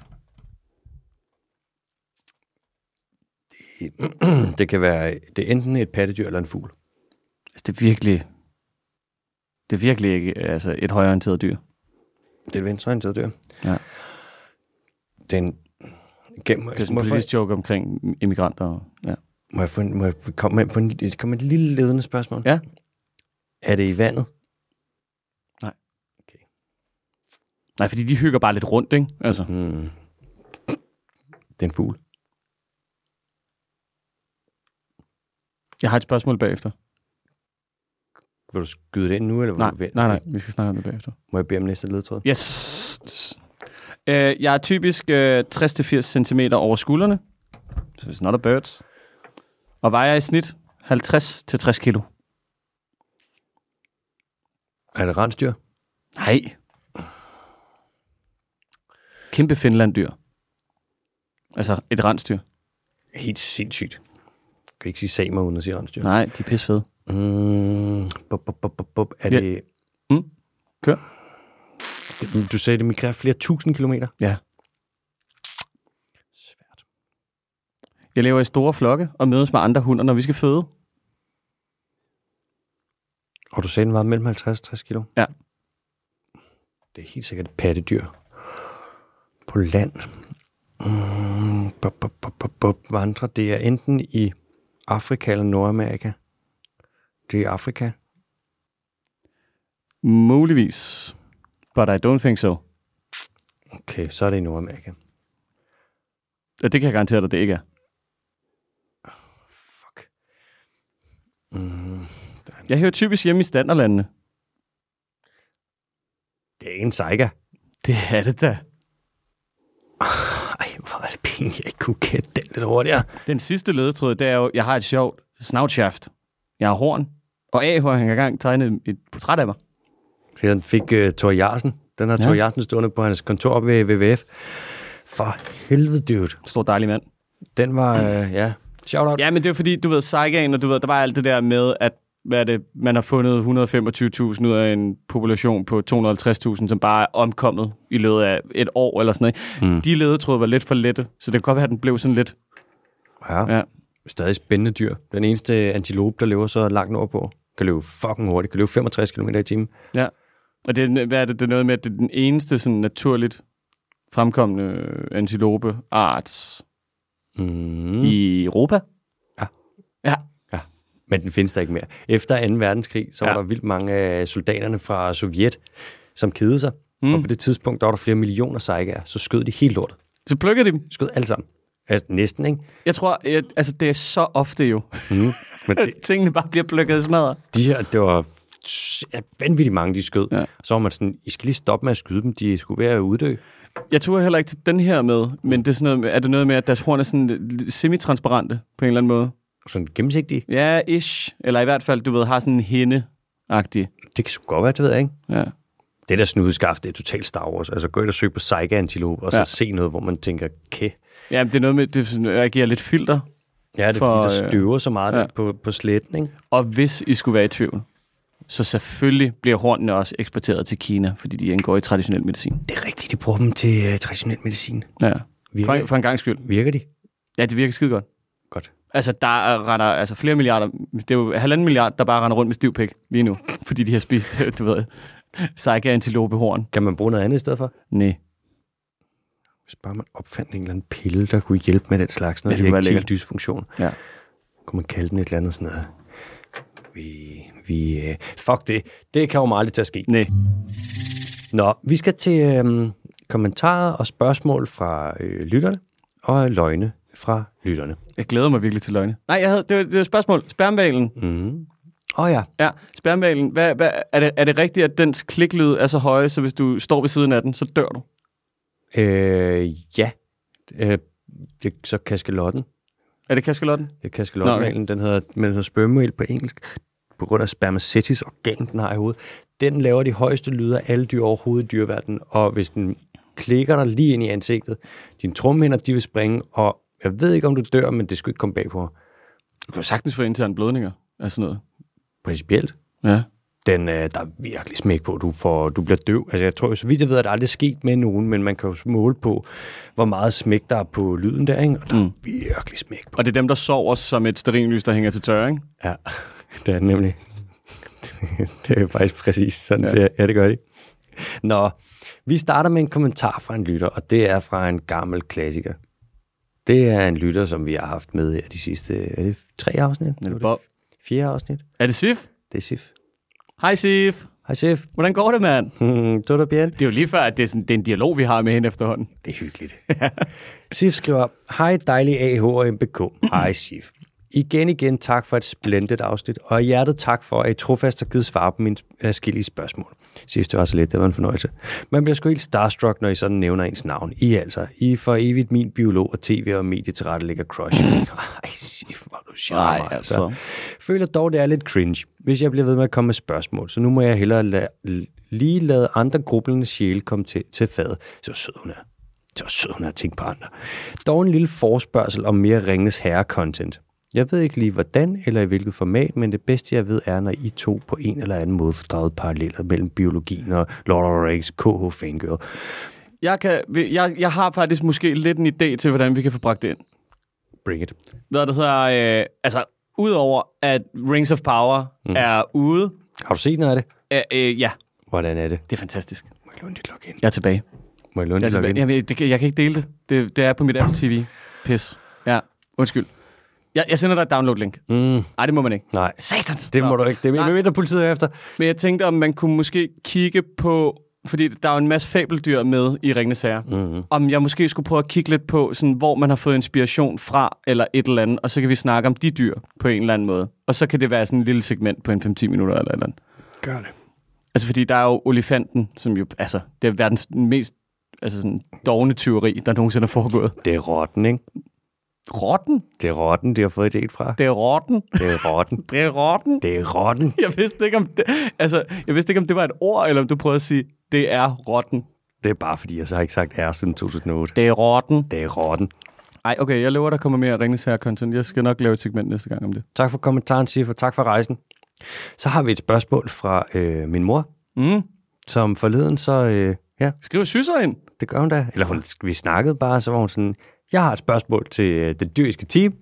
[SPEAKER 1] Hmm, Det kan være det er enten et pattedyr eller en fugl.
[SPEAKER 2] Altså, det er virkelig... Det er virkelig ikke altså, et højorienteret dyr.
[SPEAKER 1] Det er et venstreorienteret dyr.
[SPEAKER 2] Ja.
[SPEAKER 1] Det er en... Gennem,
[SPEAKER 2] Det er sådan
[SPEAKER 1] må,
[SPEAKER 2] en
[SPEAKER 1] jeg få,
[SPEAKER 2] politisk joke omkring immigranter. og- Ja.
[SPEAKER 1] må jeg få en... Må jeg komme med, få en, komme med et lille ledende spørgsmål?
[SPEAKER 2] Ja.
[SPEAKER 1] Er det i vandet?
[SPEAKER 2] Nej, fordi de hygger bare lidt rundt, ikke? Altså,
[SPEAKER 1] Hmm. Det er en fugl.
[SPEAKER 2] jeg har et spørgsmål bagefter.
[SPEAKER 1] Vil du skyde det ind nu, eller vil
[SPEAKER 2] Nej,
[SPEAKER 1] du vente?
[SPEAKER 2] nej, nej, vi skal snakke om det bagefter.
[SPEAKER 1] Må jeg bede om næste ledtråd?
[SPEAKER 2] Yes. Øh, jeg er typisk øh, 60-80 cm over skuldrene. Så it's not a bird. Og vejer i snit 50-60 kilo.
[SPEAKER 1] Er det rensdyr?
[SPEAKER 2] Nej. Kæmpe finlanddyr. Altså et rensdyr.
[SPEAKER 1] Helt sindssygt. Jeg kan ikke sige samer, uden at sige rensdyr.
[SPEAKER 2] Nej, de er pissfede.
[SPEAKER 1] Mm, bup, bup, bup, bup, bup. Er
[SPEAKER 2] Ja.
[SPEAKER 1] det...
[SPEAKER 2] Mm. Kør.
[SPEAKER 1] Du sagde, det migrerer flere tusind kilometer.
[SPEAKER 2] Ja.
[SPEAKER 1] Svært.
[SPEAKER 2] Jeg lever i store flokke og mødes med andre hunder, når vi skal føde.
[SPEAKER 1] Og du sagde, den var mellem 50 og 60 kilo?
[SPEAKER 2] Ja.
[SPEAKER 1] Det er helt sikkert et pattedyr. På land. Mm, bup, bup, bup, bup, bup. Vandre. Det er enten i Afrika eller Nordamerika. Det er i Afrika.
[SPEAKER 2] Muligvis. But I don't think so.
[SPEAKER 1] Okay, så er det i Nordamerika.
[SPEAKER 2] Ja, det kan jeg garantere dig, det ikke er.
[SPEAKER 1] Fuck. Mm,
[SPEAKER 2] Jeg hører typisk hjemme i standerlandene.
[SPEAKER 1] det er en saiga.
[SPEAKER 2] Det er det da.
[SPEAKER 1] Ej, hvor er det pinligt, jeg ikke kunne gætte den lidt hurtigere.
[SPEAKER 2] Den sidste ledetråd, det er jo, jeg har et sjovt snavshaft. Jeg har horn. Og AH har engang tegnet et portræt af mig.
[SPEAKER 1] Så den fik uh, Thor Jarsen. Den har
[SPEAKER 2] Ja.
[SPEAKER 1] ja. Thor Jarsen stående på hans kontor op ved WWF. For helvede, dude.
[SPEAKER 2] Stor dejlig mand.
[SPEAKER 1] Den var, uh, ja, shout out. Ja.
[SPEAKER 2] Ja, men det er fordi, du ved, Saigan, og du ved, der var alt det der med, at hvad er det, man har fundet 125.000 ud af en population på 250.000, som bare er omkommet i løbet af et år eller sådan noget. Mm. De ledetråde var lidt for lette, så det kan godt være, at den blev sådan lidt...
[SPEAKER 1] ja.
[SPEAKER 2] Ja.
[SPEAKER 1] Stadig spændende dyr. Den eneste antilope, der lever så langt nordpå, kan løbe fucking hurtigt. Kan løbe 65 km i timen.
[SPEAKER 2] ja. Og det, er- hvad er det, det er noget med, at det er den eneste sådan naturligt fremkommende antilope-art
[SPEAKER 1] Mm.
[SPEAKER 2] mm. i Europa.
[SPEAKER 1] Ja.
[SPEAKER 2] Ja,
[SPEAKER 1] Men den findes der ikke mere. Efter 2. verdenskrig, så
[SPEAKER 2] Ja.
[SPEAKER 1] var der vildt mange af soldaterne fra Sovjet, som kedede sig. Mm. Og på det tidspunkt, der var der flere millioner saigaer. Så skød de helt lortet.
[SPEAKER 2] så plukker de dem.
[SPEAKER 1] Skød alle sammen. Altså, næsten, ikke?
[SPEAKER 2] Jeg tror, jeg, altså det er så ofte jo,
[SPEAKER 1] Mm. Men
[SPEAKER 2] at
[SPEAKER 1] det,
[SPEAKER 2] tingene bare bliver plukket i smadret.
[SPEAKER 1] de her, det var ja, vanvittigt mange, de skød.
[SPEAKER 2] Ja.
[SPEAKER 1] Ja. Så var man sådan, I skal lige stoppe med at skyde dem. De skulle være at uddø.
[SPEAKER 2] Jeg tror heller ikke til den her med, men det er, sådan noget, med- er det noget med, at deres horn er sådan lidt semitransparente på en eller anden måde?
[SPEAKER 1] Sådan gennemsigtige.
[SPEAKER 2] Ja, ish. Eller i hvert fald, du ved, har sådan en hende-agtig.
[SPEAKER 1] Det kan sgu godt være, det ved jeg ikke.
[SPEAKER 2] Ja.
[SPEAKER 1] Det der snudeskaft, det er totalt Star Wars. Altså gå ind og søg på Saiga-antilope, og så
[SPEAKER 2] Ja.
[SPEAKER 1] ja. se noget, hvor man tænker, kæ.
[SPEAKER 2] ja, men det er noget med, det er sådan, at jeg giver lidt filter.
[SPEAKER 1] Ja, det er
[SPEAKER 2] For,
[SPEAKER 1] For, fordi,
[SPEAKER 2] øh,
[SPEAKER 1] der støver så meget
[SPEAKER 2] ja.
[SPEAKER 1] ja. på, på sletten, ikke?
[SPEAKER 2] Og hvis I skulle være i tvivl, så selvfølgelig bliver hornene også eksporteret til Kina, fordi de indgår i traditionel medicin.
[SPEAKER 1] Det er rigtigt, de bruger dem til uh, traditionel medicin.
[SPEAKER 2] Ja. For,
[SPEAKER 1] Virker,
[SPEAKER 2] for en gang skyld.
[SPEAKER 1] virker de?
[SPEAKER 2] Ja, det virker skide godt.
[SPEAKER 1] Godt.
[SPEAKER 2] Altså, der er- render altså, flere milliarder, det er jo halvanden milliard, der bare render rundt med stiv pik lige nu, fordi de har spist, du ved, sejke antilopehorn.
[SPEAKER 1] Kan man bruge noget andet i stedet for?
[SPEAKER 2] Nej.
[SPEAKER 1] Hvis bare man opfandt en eller anden pille, der kunne hjælpe med den slags, når ja,
[SPEAKER 2] Ja, det
[SPEAKER 1] det
[SPEAKER 2] kunne være
[SPEAKER 1] erektil
[SPEAKER 2] lækkert.
[SPEAKER 1] dysfunktion,
[SPEAKER 2] Ja.
[SPEAKER 1] kunne man kalde den et eller andet sådan noget. Vi, vi, øh, fuck det. Det kan jo aldrig til at ske.
[SPEAKER 2] Nej.
[SPEAKER 1] Nå, vi skal til øhm, kommentarer og spørgsmål fra øh, lytterne, og løgne fra lytterne.
[SPEAKER 2] Jeg glæder mig virkelig til løgne. Nej, jeg havde, det var, det var et spørgsmål. Spermvalen.
[SPEAKER 1] Mm. Åh oh, ja,
[SPEAKER 2] Ja, spermvalen. Hvad, hvad, er, det, er det rigtigt, at dens kliklyd er så høje, så hvis du står ved siden af den, så dør du?
[SPEAKER 1] øh, ja. Øh, det, så kaskelotten
[SPEAKER 2] Er det kaskelotten?
[SPEAKER 1] Det er kaskelotmalen, den hedder, men den hedder spermale på engelsk, på grund af spermacetis organ, den har i hovedet. Den laver de højeste lyde af alle dyr overhovedet i dyreverdenen, og hvis den klikker dig lige ind i ansigtet, dine trumhinder, de vil springe, og jeg ved ikke, om du dør, men det skal ikke komme bag på mig.
[SPEAKER 2] Du kan jo sagtens få interne blødninger af sådan noget.
[SPEAKER 1] Principielt,
[SPEAKER 2] Ja.
[SPEAKER 1] den, øh, der er virkelig smæk på, du, får, du bliver døv. Altså, jeg tror, så vidt jeg ved, at det aldrig er sket med nogen, men man kan jo måle på, hvor meget smæk der er på lyden der, ikke? og der mm. er virkelig smæk på.
[SPEAKER 2] Og det er dem, der sover som et sterinlys, der hænger til tørre, ikke?
[SPEAKER 1] Ja, det er det nemlig. det er faktisk præcis sådan, ja. det, er. ja, det gør de. Nå, vi starter med en kommentar fra en lytter, og det er fra en gammel klassiker. Det er en lytter, som vi har haft med her de sidste, er det tre afsnit? Nu Er det
[SPEAKER 2] Bob.
[SPEAKER 1] f- Fjerde afsnit?
[SPEAKER 2] Er det Sif?
[SPEAKER 1] Det er Sif.
[SPEAKER 2] Hej Sif.
[SPEAKER 1] Hej Sif.
[SPEAKER 2] Hvordan går det, mand?
[SPEAKER 1] Hmm, du er der, Bjørn.
[SPEAKER 2] Det er jo lige før, at det er, sådan, det er en dialog, vi har med hende efterhånden.
[SPEAKER 1] Det er hyggeligt. Sif skriver, Hej dejlig AH og MBK. Hej Sif. Igen igen tak for et splendid afsnit, og af hjertet tak for, at I trofast har givet svar på mine forskellige spørgsmål. Sidst det var så lidt, det var en fornøjelse. Man bliver sgu helt starstruck, når I sådan nævner ens navn. I er altså. I er for evigt min biolog og tv- og medietilrettelægger crush. Ej, Sif, hvor er du charmer, altså.
[SPEAKER 2] Ej, altså.
[SPEAKER 1] altså. Føler dog, det er lidt cringe, hvis jeg bliver ved med at komme med spørgsmål, så nu må jeg hellere lade, lige lade andre grublende sjæle komme til, til fadet. Så sød hun er. Så sød hun er at tænke på andre. Dog en lille forspørgsel om mere Ringnes Herre-content. Jeg ved ikke lige hvordan eller i hvilket format, men det bedste jeg ved er, når I to på en eller anden måde får draget paralleller mellem biologien og Lord of the Rings KH Fangirl.
[SPEAKER 2] Jeg, kan, jeg, jeg har faktisk måske lidt en idé til, hvordan vi kan få bragt det ind.
[SPEAKER 1] Bring it.
[SPEAKER 2] Hvad det hedder, øh, altså, udover at Rings of Power mm. er ude,
[SPEAKER 1] Har du set noget af det?
[SPEAKER 2] øh, øh, ja,
[SPEAKER 1] Hvordan er det?
[SPEAKER 2] det er fantastisk.
[SPEAKER 1] Må jeg låne dit login?
[SPEAKER 2] Jeg er tilbage.
[SPEAKER 1] Må jeg låne
[SPEAKER 2] Jeg, er
[SPEAKER 1] dit
[SPEAKER 2] tilbage.
[SPEAKER 1] login?
[SPEAKER 2] Jamen, det, kan- jeg kan ikke dele det. det. Det er på mit Apple TV. Pis. Ja, undskyld. Jeg, jeg sender dig et download-link.
[SPEAKER 1] Mm,
[SPEAKER 2] Nej, det må man ikke.
[SPEAKER 1] nej,
[SPEAKER 2] Satans!
[SPEAKER 1] det må du ikke. Det
[SPEAKER 2] Nej.
[SPEAKER 1] er mindre politiet er efter.
[SPEAKER 2] Men jeg tænkte, om man kunne måske kigge på, fordi der er jo en masse fabeldyr med i Ringnes Herre, mm-hmm. om jeg måske skulle prøve at kigge lidt på, sådan, hvor man har fået inspiration fra, eller et eller andet, og så kan vi snakke om de dyr på en eller anden måde. Og så kan det være sådan en lille segment på en 5-10 minutter eller et eller andet.
[SPEAKER 1] Gør det.
[SPEAKER 2] Altså, fordi der er jo olifanten, som jo, altså, det er verdens mest altså sådan dogne tyveri, der nogensinde er foregået.
[SPEAKER 1] Det er rotten, ikke?
[SPEAKER 2] Rotten?
[SPEAKER 1] Det er rotten, de har fået idéen fra.
[SPEAKER 2] Det er rotten.
[SPEAKER 1] Det er rotten.
[SPEAKER 2] Det er rotten.
[SPEAKER 1] Det er rotten.
[SPEAKER 2] Jeg vidste ikke, om det, altså, jeg vidste ikke, om det var et ord, eller om du prøvede at sige, det er rotten.
[SPEAKER 1] Det er bare fordi, jeg så har ikke sagt R siden 2008.
[SPEAKER 2] Det er rotten.
[SPEAKER 1] Det er rotten.
[SPEAKER 2] Ej, okay, jeg lover, der kommer mere Ringnes Herre content. Jeg skal nok lave et segment næste gang om det.
[SPEAKER 1] Tak for kommentaren, Sif, og tak for rejsen. Så har vi et spørgsmål fra øh, min mor,
[SPEAKER 2] Mm.
[SPEAKER 1] som forleden så... Øh, ja,
[SPEAKER 2] Skriv syser ind.
[SPEAKER 1] det gør hun da. Eller hun, vi snakkede bare, så var hun sådan... Jeg har et spørgsmål til øh, det dyriske team.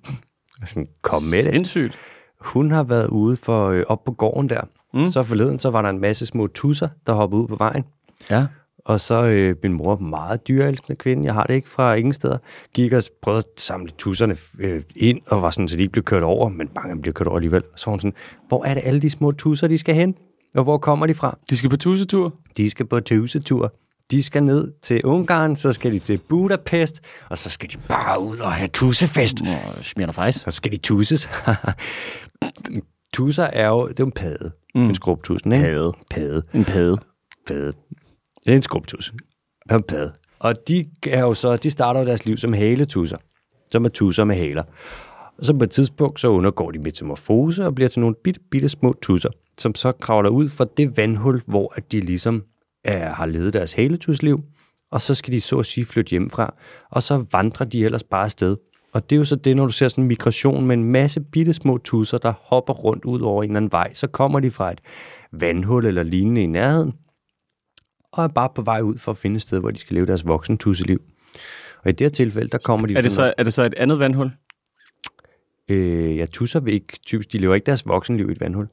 [SPEAKER 1] Og Sådan, kom med det.
[SPEAKER 2] Sindssygt.
[SPEAKER 1] Hun har været ude for øh, op på gården der. Mm. Så forleden, så var der en masse små tusser, der hoppede ud på vejen.
[SPEAKER 2] Ja.
[SPEAKER 1] Og så øh, min mor, meget dyrelskende kvinde, jeg har det ikke fra ingen steder, gik og prøvede at samle tusserne øh, ind, og var sådan, så de ikke blev kørt over, men mange af dem blev kørt over alligevel. Så var hun sådan, hvor er det alle de små tusser, de skal hen? Og hvor kommer de fra?
[SPEAKER 2] De skal på tusetur.
[SPEAKER 1] De skal på tusetur. De skal ned til Ungarn, så skal de til Budapest, og så skal de bare ud og have tussefest.
[SPEAKER 2] Nå, smiger faktisk.
[SPEAKER 1] Så skal de tusses. Tusser er jo, det er jo en pade. Mm. En skrubtusen, ikke? Pade. Pade
[SPEAKER 2] En pæde.
[SPEAKER 1] pade. Det er en skrubtus. Og en pade. Og de, er jo så, de starter jo deres liv som haletusser. Som er tusser med haler. Og så på et tidspunkt, så undergår de metamorfose og bliver til nogle bitte, bitte små tusser, som så kravler ud fra det vandhul, hvor at de ligesom er, har levet deres haletusliv, og så skal de så at sige flytte hjemmefra, og så vandrer de ellers bare afsted. Og det er jo så det, når du ser sådan en migration med en masse bitte små tusser, der hopper rundt ud over en eller anden vej, så kommer de fra et vandhul eller lignende i nærheden, og er bare på vej ud for at finde et sted, hvor de skal leve deres voksen tusseliv. Og i det her tilfælde, der kommer de...
[SPEAKER 2] Er det,
[SPEAKER 1] sådan-
[SPEAKER 2] så, er det så et andet vandhul?
[SPEAKER 1] Øh, ja, tusser vil ikke typisk, de lever ikke deres voksenliv i et vandhul,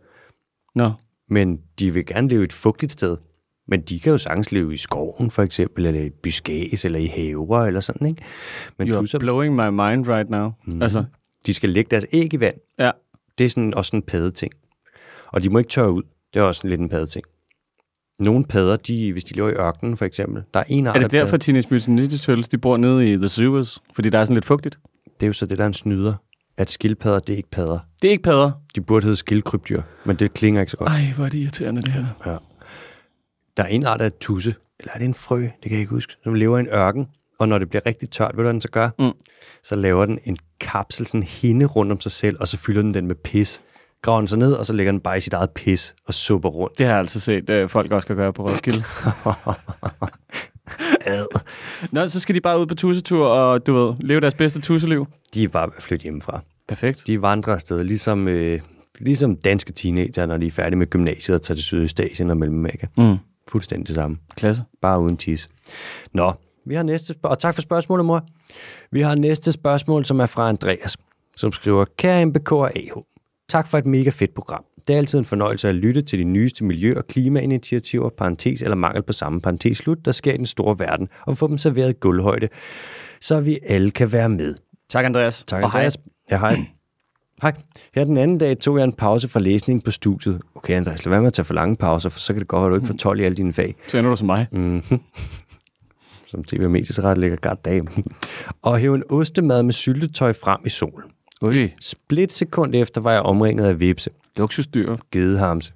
[SPEAKER 2] Nå.
[SPEAKER 1] men de vil gerne leve et fugtigt sted. Men de kan jo sagtens leve i skoven for eksempel, eller i byskæs, eller i haver, eller sådan, ikke? Men
[SPEAKER 2] You're
[SPEAKER 1] tusser,
[SPEAKER 2] blowing my mind right now. Mm. Altså,
[SPEAKER 1] de skal lægge deres æg i vand.
[SPEAKER 2] ja.
[SPEAKER 1] Det er sådan, også sådan en padeting. Og de må ikke tørre ud. Det er også sådan lidt en padeting. Nogle padder, de, hvis de lever i ørkenen for eksempel, der er en art
[SPEAKER 2] Er
[SPEAKER 1] af
[SPEAKER 2] det
[SPEAKER 1] padder.
[SPEAKER 2] derfor, Teenage Mutant Ninja Turtles, de bor nede i The Sewers? Fordi der er sådan lidt fugtigt.
[SPEAKER 1] Det er jo så det, der er en snyder, at skildpadder, det er ikke padder.
[SPEAKER 2] Det er ikke padder.
[SPEAKER 1] De burde hedde skildkrybdyr, men det klinger ikke så godt.
[SPEAKER 2] Ej, hvor er det irriterende, det her.
[SPEAKER 1] Der er en art af tusse, eller er det en frø, det kan jeg ikke huske, som lever i en ørken, Og når det bliver rigtig tørt, ved du, hvad den så gør?
[SPEAKER 2] Mm.
[SPEAKER 1] Så laver den en kapsel, sådan en hinde rundt om sig selv, og så fylder den den med pis. Graver den så ned, og så lægger den bare i sit eget pis og supper rundt.
[SPEAKER 2] Det har jeg altså set, øh, folk også kan gøre på Roskilde.
[SPEAKER 1] Ad.
[SPEAKER 2] Nå, så skal de bare ud på tussetur og, du ved, leve deres bedste tusseliv.
[SPEAKER 1] De er bare ved at flytte hjemmefra.
[SPEAKER 2] Perfekt.
[SPEAKER 1] De vandrer afsted, ligesom, øh, ligesom danske teenager, når de er færdige med gymnasiet og tager til Sydøstasien og Mellemamerika.
[SPEAKER 2] Mm.
[SPEAKER 1] Fuldstændig det samme.
[SPEAKER 2] Klasse.
[SPEAKER 1] Bare uden tis. Nå, vi har næste spørgsmål. Og tak for spørgsmålet, mor. Vi har næste spørgsmål, som er fra Andreas, som skriver, Kære MBK og AH, tak for et mega fedt program. Det er altid en fornøjelse at lytte til de nyeste miljø- og klimainitiativer, parentes eller mangel på samme parentes slut, der sker i den store verden, og få dem serveret i gulvhøjde, så vi alle kan være med.
[SPEAKER 2] Tak, Andreas.
[SPEAKER 1] Tak,
[SPEAKER 2] Og hej.
[SPEAKER 1] Andreas. Ja, hej. Hej. Her den anden dag tog jeg en pause fra læsning på studiet. Okay, Andreas, lad være med at tage for lange pauser, for så kan det godt være, at du ikke får 12 i alle dine fag
[SPEAKER 2] Så ender du som mig. Mm.
[SPEAKER 1] som tv og mediesret ligger godt dag. og hæve en ostemad med syltetøj frem i solen.
[SPEAKER 2] Ui,
[SPEAKER 1] Split sekund efter var jeg omringet af vipse,
[SPEAKER 2] luksusdyr.
[SPEAKER 1] gedehamse,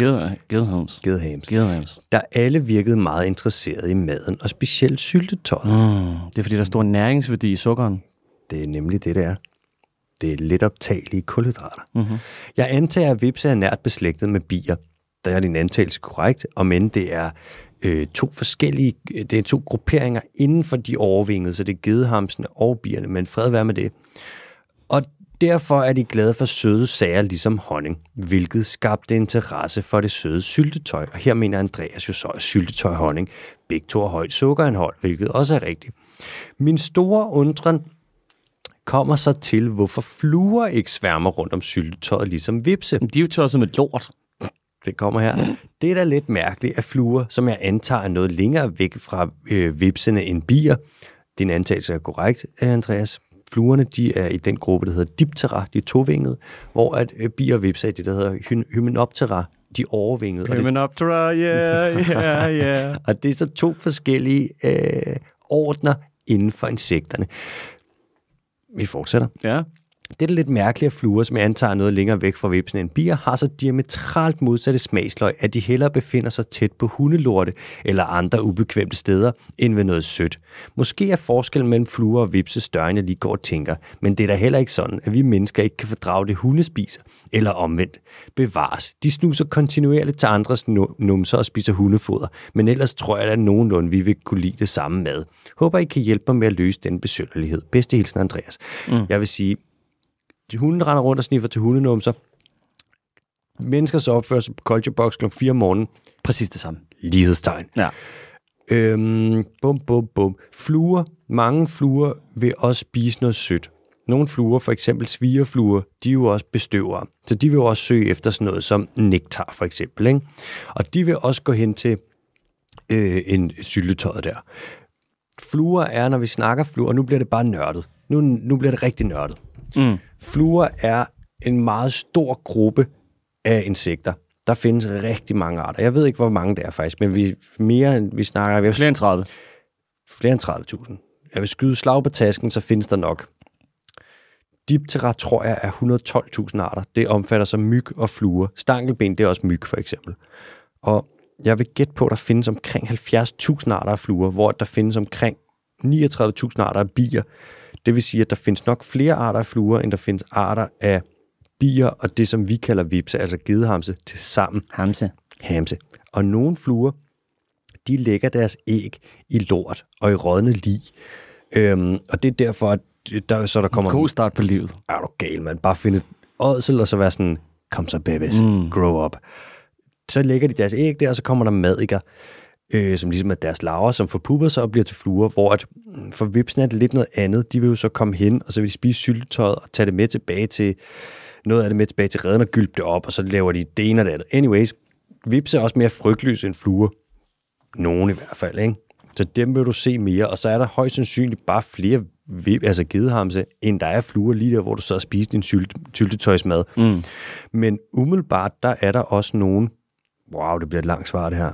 [SPEAKER 2] Geder, gederhams.
[SPEAKER 1] gedehamse,
[SPEAKER 2] Gederhams.
[SPEAKER 1] der alle virkede meget interesserede i maden, og specielt syltetøjet. Mm.
[SPEAKER 2] Det er, fordi der er stor næringsværdi i sukkeren.
[SPEAKER 1] Det er nemlig det, det er. Det er lidt optagelige kulhydrater. Mm-hmm. Jeg antager, at vipse er nært beslægtet med bier. Der er din antagelse korrekt, og men det er øh, to forskellige, øh, det er to grupperinger inden for de overvingede, så det er gedehamsene og bierne, men fred være med det. Og derfor er de glade for søde sager ligesom honning, hvilket skabte interesse for det søde syltetøj. Og her mener Andreas jo så, at syltetøj og honning begge to har højt sukkerindhold, hvilket også er rigtigt. Min store undren kommer så til, hvorfor fluer ikke sværmer rundt om syltetøjet ligesom vipse.
[SPEAKER 2] De er jo tosset med lort.
[SPEAKER 1] Det kommer her. Det er da lidt mærkeligt, at fluer, som jeg antager er noget længere væk fra øh, vipsene end bier, din antagelse er korrekt, øh, Andreas. Fluerne, de er i den gruppe, der hedder diptera, de er tovingede, hvor at øh, bier og vipser er i det, der hedder hy- hymenoptera, de er overvingede. Og det,
[SPEAKER 2] Hymenoptera, yeah, yeah, yeah.
[SPEAKER 1] og det er så to forskellige øh, ordner inden for insekterne. Vi fortsætter.
[SPEAKER 2] ja.
[SPEAKER 1] Det er da lidt mærkeligt, at fluer, som jeg antager er noget længere væk fra vipsen end bier, har så diametralt modsatte smagsløg, at de hellere befinder sig tæt på hundelorte eller andre ubekvemte steder, end ved noget sødt. Måske er forskellen mellem fluer og vipse større, end jeg lige går og tænker, men det er da heller ikke sådan, at vi mennesker ikke kan fordrage det, hunde spiser, eller omvendt. Bevares. De snuser kontinuerligt til andres nu- numser og spiser hundefoder, men ellers tror jeg da nogenlunde, vi vil kunne lide det samme mad. Håber, I kan hjælpe mig med at løse den besynderlighed. Bedste hilsen, Andreas. Mm. Jeg vil sige, hunden render rundt og sniffer til hundenumser. Mennesker så opfører sig på Culture Box kl. 4 om morgenen.
[SPEAKER 2] Præcis det samme.
[SPEAKER 1] Lighedstegn.
[SPEAKER 2] Ja.
[SPEAKER 1] Øhm, bum, bum, bum. Fluer. Mange fluer vil også spise noget sødt. Nogle fluer, for eksempel svigerfluer, de er jo også bestøvere. Så de vil jo også søge efter sådan noget som nektar, for eksempel. Ikke? Og de vil også gå hen til øh, en syltetøjet der. Fluer er, når vi snakker fluer, og nu bliver det bare nørdet. Nu, nu bliver det rigtig nørdet.
[SPEAKER 2] Mm.
[SPEAKER 1] Fluer er en meget stor gruppe af insekter. Der findes rigtig mange arter. Jeg ved ikke, hvor mange det er faktisk, men vi, mere end vi snakker, vi har
[SPEAKER 2] Flere end 30.
[SPEAKER 1] flere end 30.000. Jeg vil skyde slag på tasken, så findes der nok. Diptera tror jeg er 112.000 arter. Det omfatter så myg og fluer. Stankelben, det er også myg for eksempel. Og jeg vil gætte på, at der findes omkring 70.000 arter af fluer, hvor der findes omkring 39.000 arter af bier. Det vil sige, at der findes nok flere arter af fluer, end der findes arter af bier og det, som vi kalder vipse, altså gedehamse, til sammen
[SPEAKER 2] Hamse.
[SPEAKER 1] hamse. Og nogle fluer, de lægger deres æg i lort og i rådne lig. Øhm, og det er derfor, at der, så der kommer...
[SPEAKER 2] God start på livet.
[SPEAKER 1] Er du gal, man? Bare finde et ådsel, og så være sådan, kom så babies, mm. grow up. Så lægger de deres æg der, og så kommer der madikker, øh, som ligesom er deres larver, som forpupper sig og bliver til fluer, hvor at, mm, for vipsen er det lidt noget andet. De vil jo så komme hen, og så vil de spise syltetøjet og tage det med tilbage til, noget af det med tilbage til redden og gylpe det op, og så laver de det ene og det andet. Anyways, vips er også mere frygtløse end fluer. Nogen i hvert fald, ikke? Så dem vil du se mere, og så er der højst sandsynligt bare flere vip, altså gedehamse, end der er fluer lige der, hvor du så har spist din sylt, syltetøjsmad. Mm. Men umiddelbart, der er der også nogen, wow, det bliver et langt svar det her,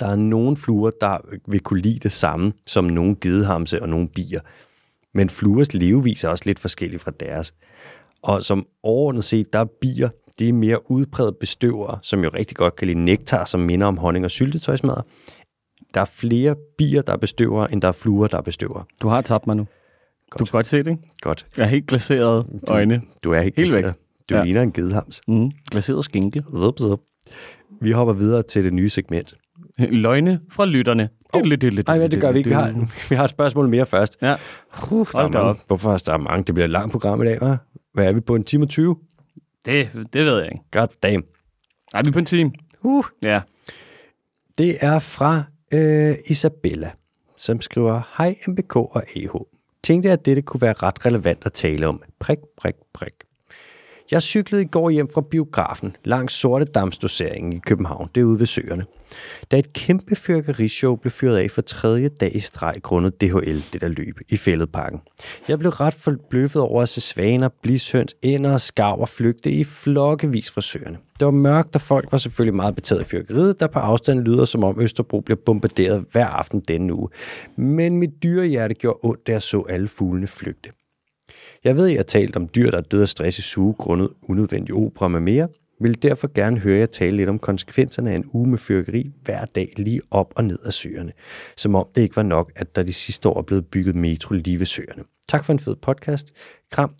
[SPEAKER 1] der er nogen fluer, der vil kunne lide det samme som nogle gedehamse og nogle bier. Men fluers levevis er også lidt forskellig fra deres. Og som overordnet set, der er bier, det er mere udpræget bestøvere, som jo rigtig godt kan lide nektar, som minder om honning og syltetøjsmad, Der er flere bier, der bestøver, end der er fluer, der bestøver.
[SPEAKER 2] Du har tabt mig nu. Godt. Du kan godt se det, ikke?
[SPEAKER 1] Godt.
[SPEAKER 2] Jeg har helt glaserede øjne.
[SPEAKER 1] Du er helt,
[SPEAKER 2] Helt væk.
[SPEAKER 1] glaseret. Du
[SPEAKER 2] Ja.
[SPEAKER 1] ja. ligner en gedehams.
[SPEAKER 2] Mm. Glaseret skinke.
[SPEAKER 1] Zup, zup. Vi hopper videre til det nye segment.
[SPEAKER 2] Løgne fra lytterne. Oh.
[SPEAKER 1] Nej, hvad det gør vi ikke. Vi har, vi har et spørgsmål mere først. Uh,
[SPEAKER 2] Ja.
[SPEAKER 1] der er
[SPEAKER 2] Hold da
[SPEAKER 1] mange.
[SPEAKER 2] op.
[SPEAKER 1] Hvorfor er der mange? Det bliver et langt program i dag, hva'? Hvad er vi på? En time og 20?
[SPEAKER 2] Det, det ved jeg ikke.
[SPEAKER 1] God damn.
[SPEAKER 2] Nej, vi er på en time.
[SPEAKER 1] Uh.
[SPEAKER 2] Ja.
[SPEAKER 1] Det er fra øh, Isabella, som skriver, Hej MBK og AH. Tænkte, at dette kunne være ret relevant at tale om. Prik, prik, prik. Jeg cyklede i går hjem fra biografen langs Sorte Damsdoseringen i København, det er ude ved søerne. Da et kæmpe fyrkerishow blev fyret af for tredje dag i streg grundet DHL, det der løb, i fældeparken. Jeg blev ret forbløffet over at se svaner, blishøns, ænder og skarver flygte i flokkevis fra søerne. Det var mørkt, og folk var selvfølgelig meget betaget af fyrkeriet, der på afstand lyder som om Østerbro bliver bombarderet hver aften denne uge. Men mit dyrehjerte gjorde ondt, da jeg så alle fuglene flygte. Jeg ved, at jeg har talt om dyr, der er døde af stress i suge grundet unødvendig opera med mere. Vil derfor gerne høre jer tale lidt om konsekvenserne af en uge med fyrkeri hver dag lige op og ned af søerne. Som om det ikke var nok, at der de sidste år er blevet bygget metro lige ved søerne. Tak for en fed podcast. Kram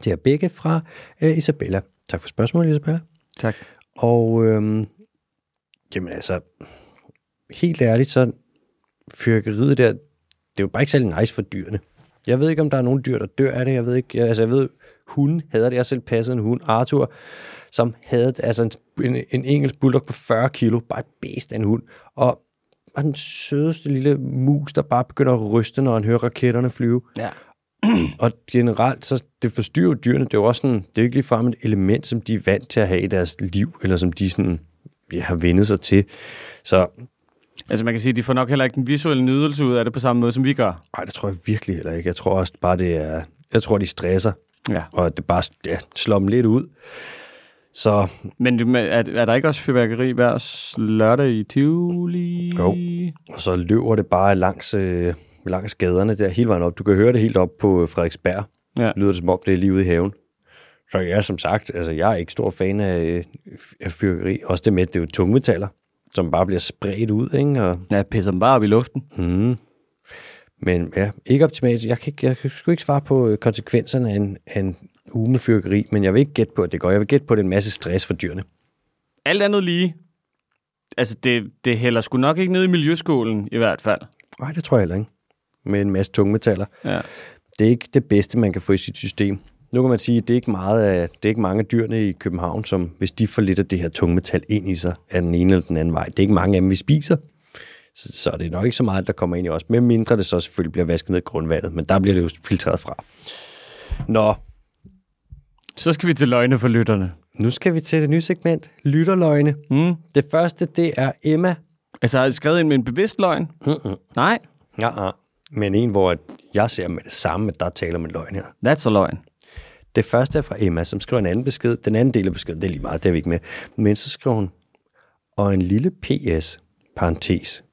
[SPEAKER 1] til jer begge fra øh, Isabella. Tak for spørgsmålet, Isabella.
[SPEAKER 2] Tak.
[SPEAKER 1] Og øhm, jamen altså, helt ærligt, så fyrkeriet der, det er jo bare ikke særlig nice for dyrene. Jeg ved ikke, om der er nogen dyr, der dør af det. Jeg ved ikke, jeg, altså jeg ved, hunden hader det. Jeg har selv passet en hund, Arthur, som havde altså en, en, en engelsk bulldog på 40 kilo, bare et bedst af en hund. Og var den sødeste lille mus, der bare begynder at ryste, når han hører raketterne flyve.
[SPEAKER 2] Ja.
[SPEAKER 1] Og generelt, så det forstyrrer jo dyrene. Det er jo også sådan, det er jo ikke ligefrem et element, som de er vant til at have i deres liv, eller som de sådan, ja, har vendet sig til. Så
[SPEAKER 2] Altså man kan sige, at de får nok heller ikke den visuelle nydelse ud af det på samme måde, som vi gør.
[SPEAKER 1] ej, det tror jeg virkelig heller ikke. Jeg tror også bare, det er... Jeg tror, de stresser,
[SPEAKER 2] Ja.
[SPEAKER 1] og at det bare ja, slår dem lidt ud. Så
[SPEAKER 2] Men det- men er, er der ikke også fyrværkeri hver s- lørdag i Tivoli?
[SPEAKER 1] Jo. Og så løber det bare langs, øh, langs gaderne der hele vejen op. Du kan høre det helt op på øh, Frederiksberg.
[SPEAKER 2] Ja.
[SPEAKER 1] Lyder det som om, det er lige ude i haven. Så jeg er som sagt, altså jeg er ikke stor fan af, øh, af fyrkeri. Også det med, at det er jo tungmetaller, som bare bliver spredt ud, ikke? Og,
[SPEAKER 2] Ja, jeg pisser dem bare op i luften.
[SPEAKER 1] mm. Men ja, ikke optimalt. Jeg kan, ikke, jeg kan sgu ikke svare på øh, konsekvenserne af en, af en uge med fyrkeri, men jeg vil ikke gætte på, at det går. Jeg vil gætte på, at det er en masse stress for dyrene.
[SPEAKER 2] Alt andet lige. Altså, det, det hælder sgu nok ikke ned i miljøskolen, i hvert fald.
[SPEAKER 1] Nej, det tror jeg heller ikke. Med en masse tungmetaller.
[SPEAKER 2] Ja.
[SPEAKER 1] det er ikke det bedste, man kan få i sit system. Nu kan man sige, at det er ikke, meget af, det er ikke mange af dyrene i København, som hvis de får lidt af det her tungmetal ind i sig af den ene eller den anden vej. Det er ikke mange af dem, vi spiser. Så, så det er nok ikke så meget, der kommer ind i os. Med mindre det så selvfølgelig bliver vasket ned i grundvandet, men der bliver det jo filtreret fra. Nå,
[SPEAKER 2] Så skal vi til løgne for lytterne.
[SPEAKER 1] nu skal vi til det nye segment, lytterløgne.
[SPEAKER 2] Mm.
[SPEAKER 1] Det første, det er Emma.
[SPEAKER 2] Altså, har jeg skrevet ind med en bevidst løgn?
[SPEAKER 1] Mm-mm.
[SPEAKER 2] Nej,
[SPEAKER 1] Ja, ja. Men en, hvor at jeg ser med det samme, at der taler om en løgn her.
[SPEAKER 2] that's a løgn.
[SPEAKER 1] Det første er fra Emma, som skriver en anden besked. Den anden del af beskeden, det er lige meget, det er vi ikke med. Men så skriver hun, og en lille PS, parentes,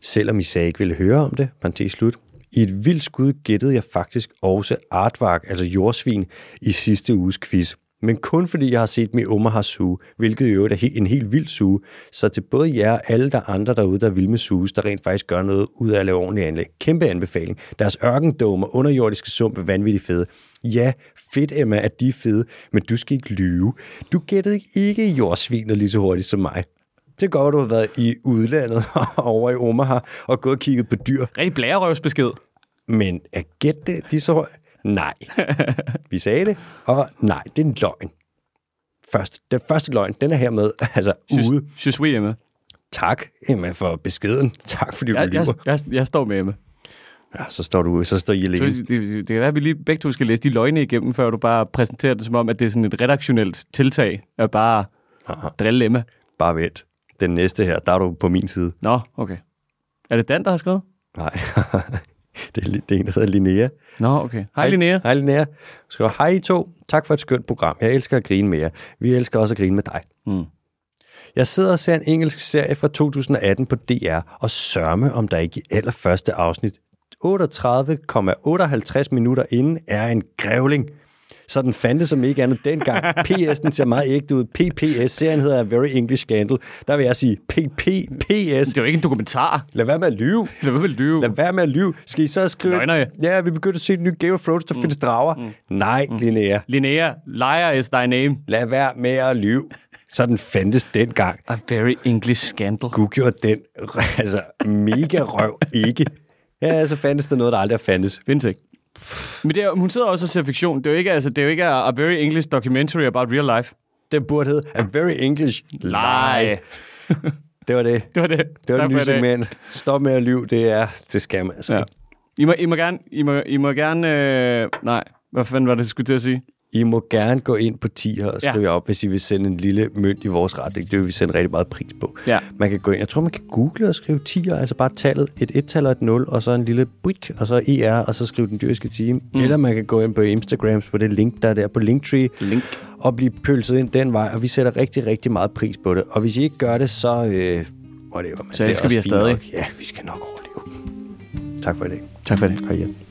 [SPEAKER 1] selvom I sagde, I ikke ville høre om det, parentes slut, i et vildt skud gættede jeg faktisk også artvark, altså jordsvin, i sidste uges quiz. Men kun fordi jeg har set min Omaha suge, hvilket i øvrigt er he- en helt vild suge. Så til både jer og alle der andre derude, der vil med suges, der rent faktisk gør noget ud af at lave ordentlige anlæg. Kæmpe anbefaling. Deres ørkendomer, underjordiske sump er vanvittigt fede. Ja, fedt Emma, at de er fede, men du skal ikke lyve. Du gættede ikke jordsvinet lige så hurtigt som mig. Det er godt, at du har været i udlandet over i Omaha og gået og kigget på dyr.
[SPEAKER 2] Rigtig blærerøvsbesked.
[SPEAKER 1] Men at gætte det lige så højt? Nej. Vi sagde det, og nej, det er en løgn. Først, den første løgn, den er hermed altså ude.
[SPEAKER 2] Synes vi, Emma.
[SPEAKER 1] Tak, Emma, for beskeden. Tak, fordi du
[SPEAKER 2] Jeg, jeg,
[SPEAKER 1] lyver.
[SPEAKER 2] jeg, jeg står med Emma.
[SPEAKER 1] Ja, så står du så står I
[SPEAKER 2] Så
[SPEAKER 1] alene.
[SPEAKER 2] Det, det, det kan være, at vi lige begge to skal læse de løgne igennem, før du bare præsenterer det som om, at det er sådan et redaktionelt tiltag at bare
[SPEAKER 1] Aha.
[SPEAKER 2] drille Emma.
[SPEAKER 1] Bare vent. Den næste her, der er du på min side.
[SPEAKER 2] Nå, okay. Er det Dan, der har skrevet?
[SPEAKER 1] Nej, det er, li- det er en, der hedder Linnea.
[SPEAKER 2] Nå, okay. Hej, Linnea.
[SPEAKER 1] Hej Linnea. Hun Skriver, hej I to. Tak for et skønt program. Jeg elsker at grine med jer. Vi elsker også at grine med dig.
[SPEAKER 2] Mm.
[SPEAKER 1] Jeg sidder og ser en engelsk serie fra 2018 på DR, og sørme om der ikke i allerførste afsnit 38,58 minutter inden er en grævling. så den fandtes som ikke andet dengang. PS'en ser meget ægte ud. PPS, serien hedder A Very English Scandal. Der vil jeg sige PPPS.
[SPEAKER 2] Det er jo ikke en dokumentar.
[SPEAKER 1] Lad være med at lyve.
[SPEAKER 2] Det var vel lyve.
[SPEAKER 1] Lad være med at lyve. Skal I så skrive...
[SPEAKER 2] Løgner I?
[SPEAKER 1] Ja, vi begyndte at se den nye Game of Thrones, der mm. findes drager. Mm. Nej, mm. Linnea.
[SPEAKER 2] Linnea, liar is thy name.
[SPEAKER 1] Lad være med at lyve. Sådan fandtes dengang.
[SPEAKER 2] A very English scandal.
[SPEAKER 1] Gud gjorde den altså, mega røv ikke. Ja, så fandtes der noget, der aldrig har fandtes.
[SPEAKER 2] Findes ikke. Men det er, hun sidder også og ser fiktion. Det er jo ikke, altså, det er jo ikke a, a very English documentary about real life.
[SPEAKER 1] Det burde hedde A Very English Lie. Det var det.
[SPEAKER 2] Det var det.
[SPEAKER 1] Det var
[SPEAKER 2] Tak
[SPEAKER 1] det nye
[SPEAKER 2] for i dag.
[SPEAKER 1] segment. Stop med at lyve, det er... Det skal man altså.
[SPEAKER 2] Ja.
[SPEAKER 1] Ja.
[SPEAKER 2] I må, I må gerne... I må, I må gerne øh, nej, hvad fanden var det, jeg skulle til at sige?
[SPEAKER 1] I må gerne gå ind på 10 her og
[SPEAKER 2] Ja.
[SPEAKER 1] skrive ja. op, hvis I vil sende en lille mønt i vores retning. Det vil vi sende rigtig meget pris på.
[SPEAKER 2] Ja.
[SPEAKER 1] Man kan gå ind, jeg tror, man kan google og skrive 10, altså bare tallet, et 1-tal og et 0, og så en lille brik, og så ER, og så skrive den dyriske time. Mm. Eller man kan gå ind på Instagrams på det link, der er der på Linktree,
[SPEAKER 2] Link.
[SPEAKER 1] og blive pølset ind den vej, og vi sætter rigtig, rigtig meget pris på det. Og hvis I ikke gør det, så... Øh, whatever, man.
[SPEAKER 2] elsker
[SPEAKER 1] det er også
[SPEAKER 2] vi jer
[SPEAKER 1] fint
[SPEAKER 2] stadig.
[SPEAKER 1] Nok. Ja, vi skal nok overleve. Tak for i dag.
[SPEAKER 2] Tak for det.
[SPEAKER 1] Hej igen.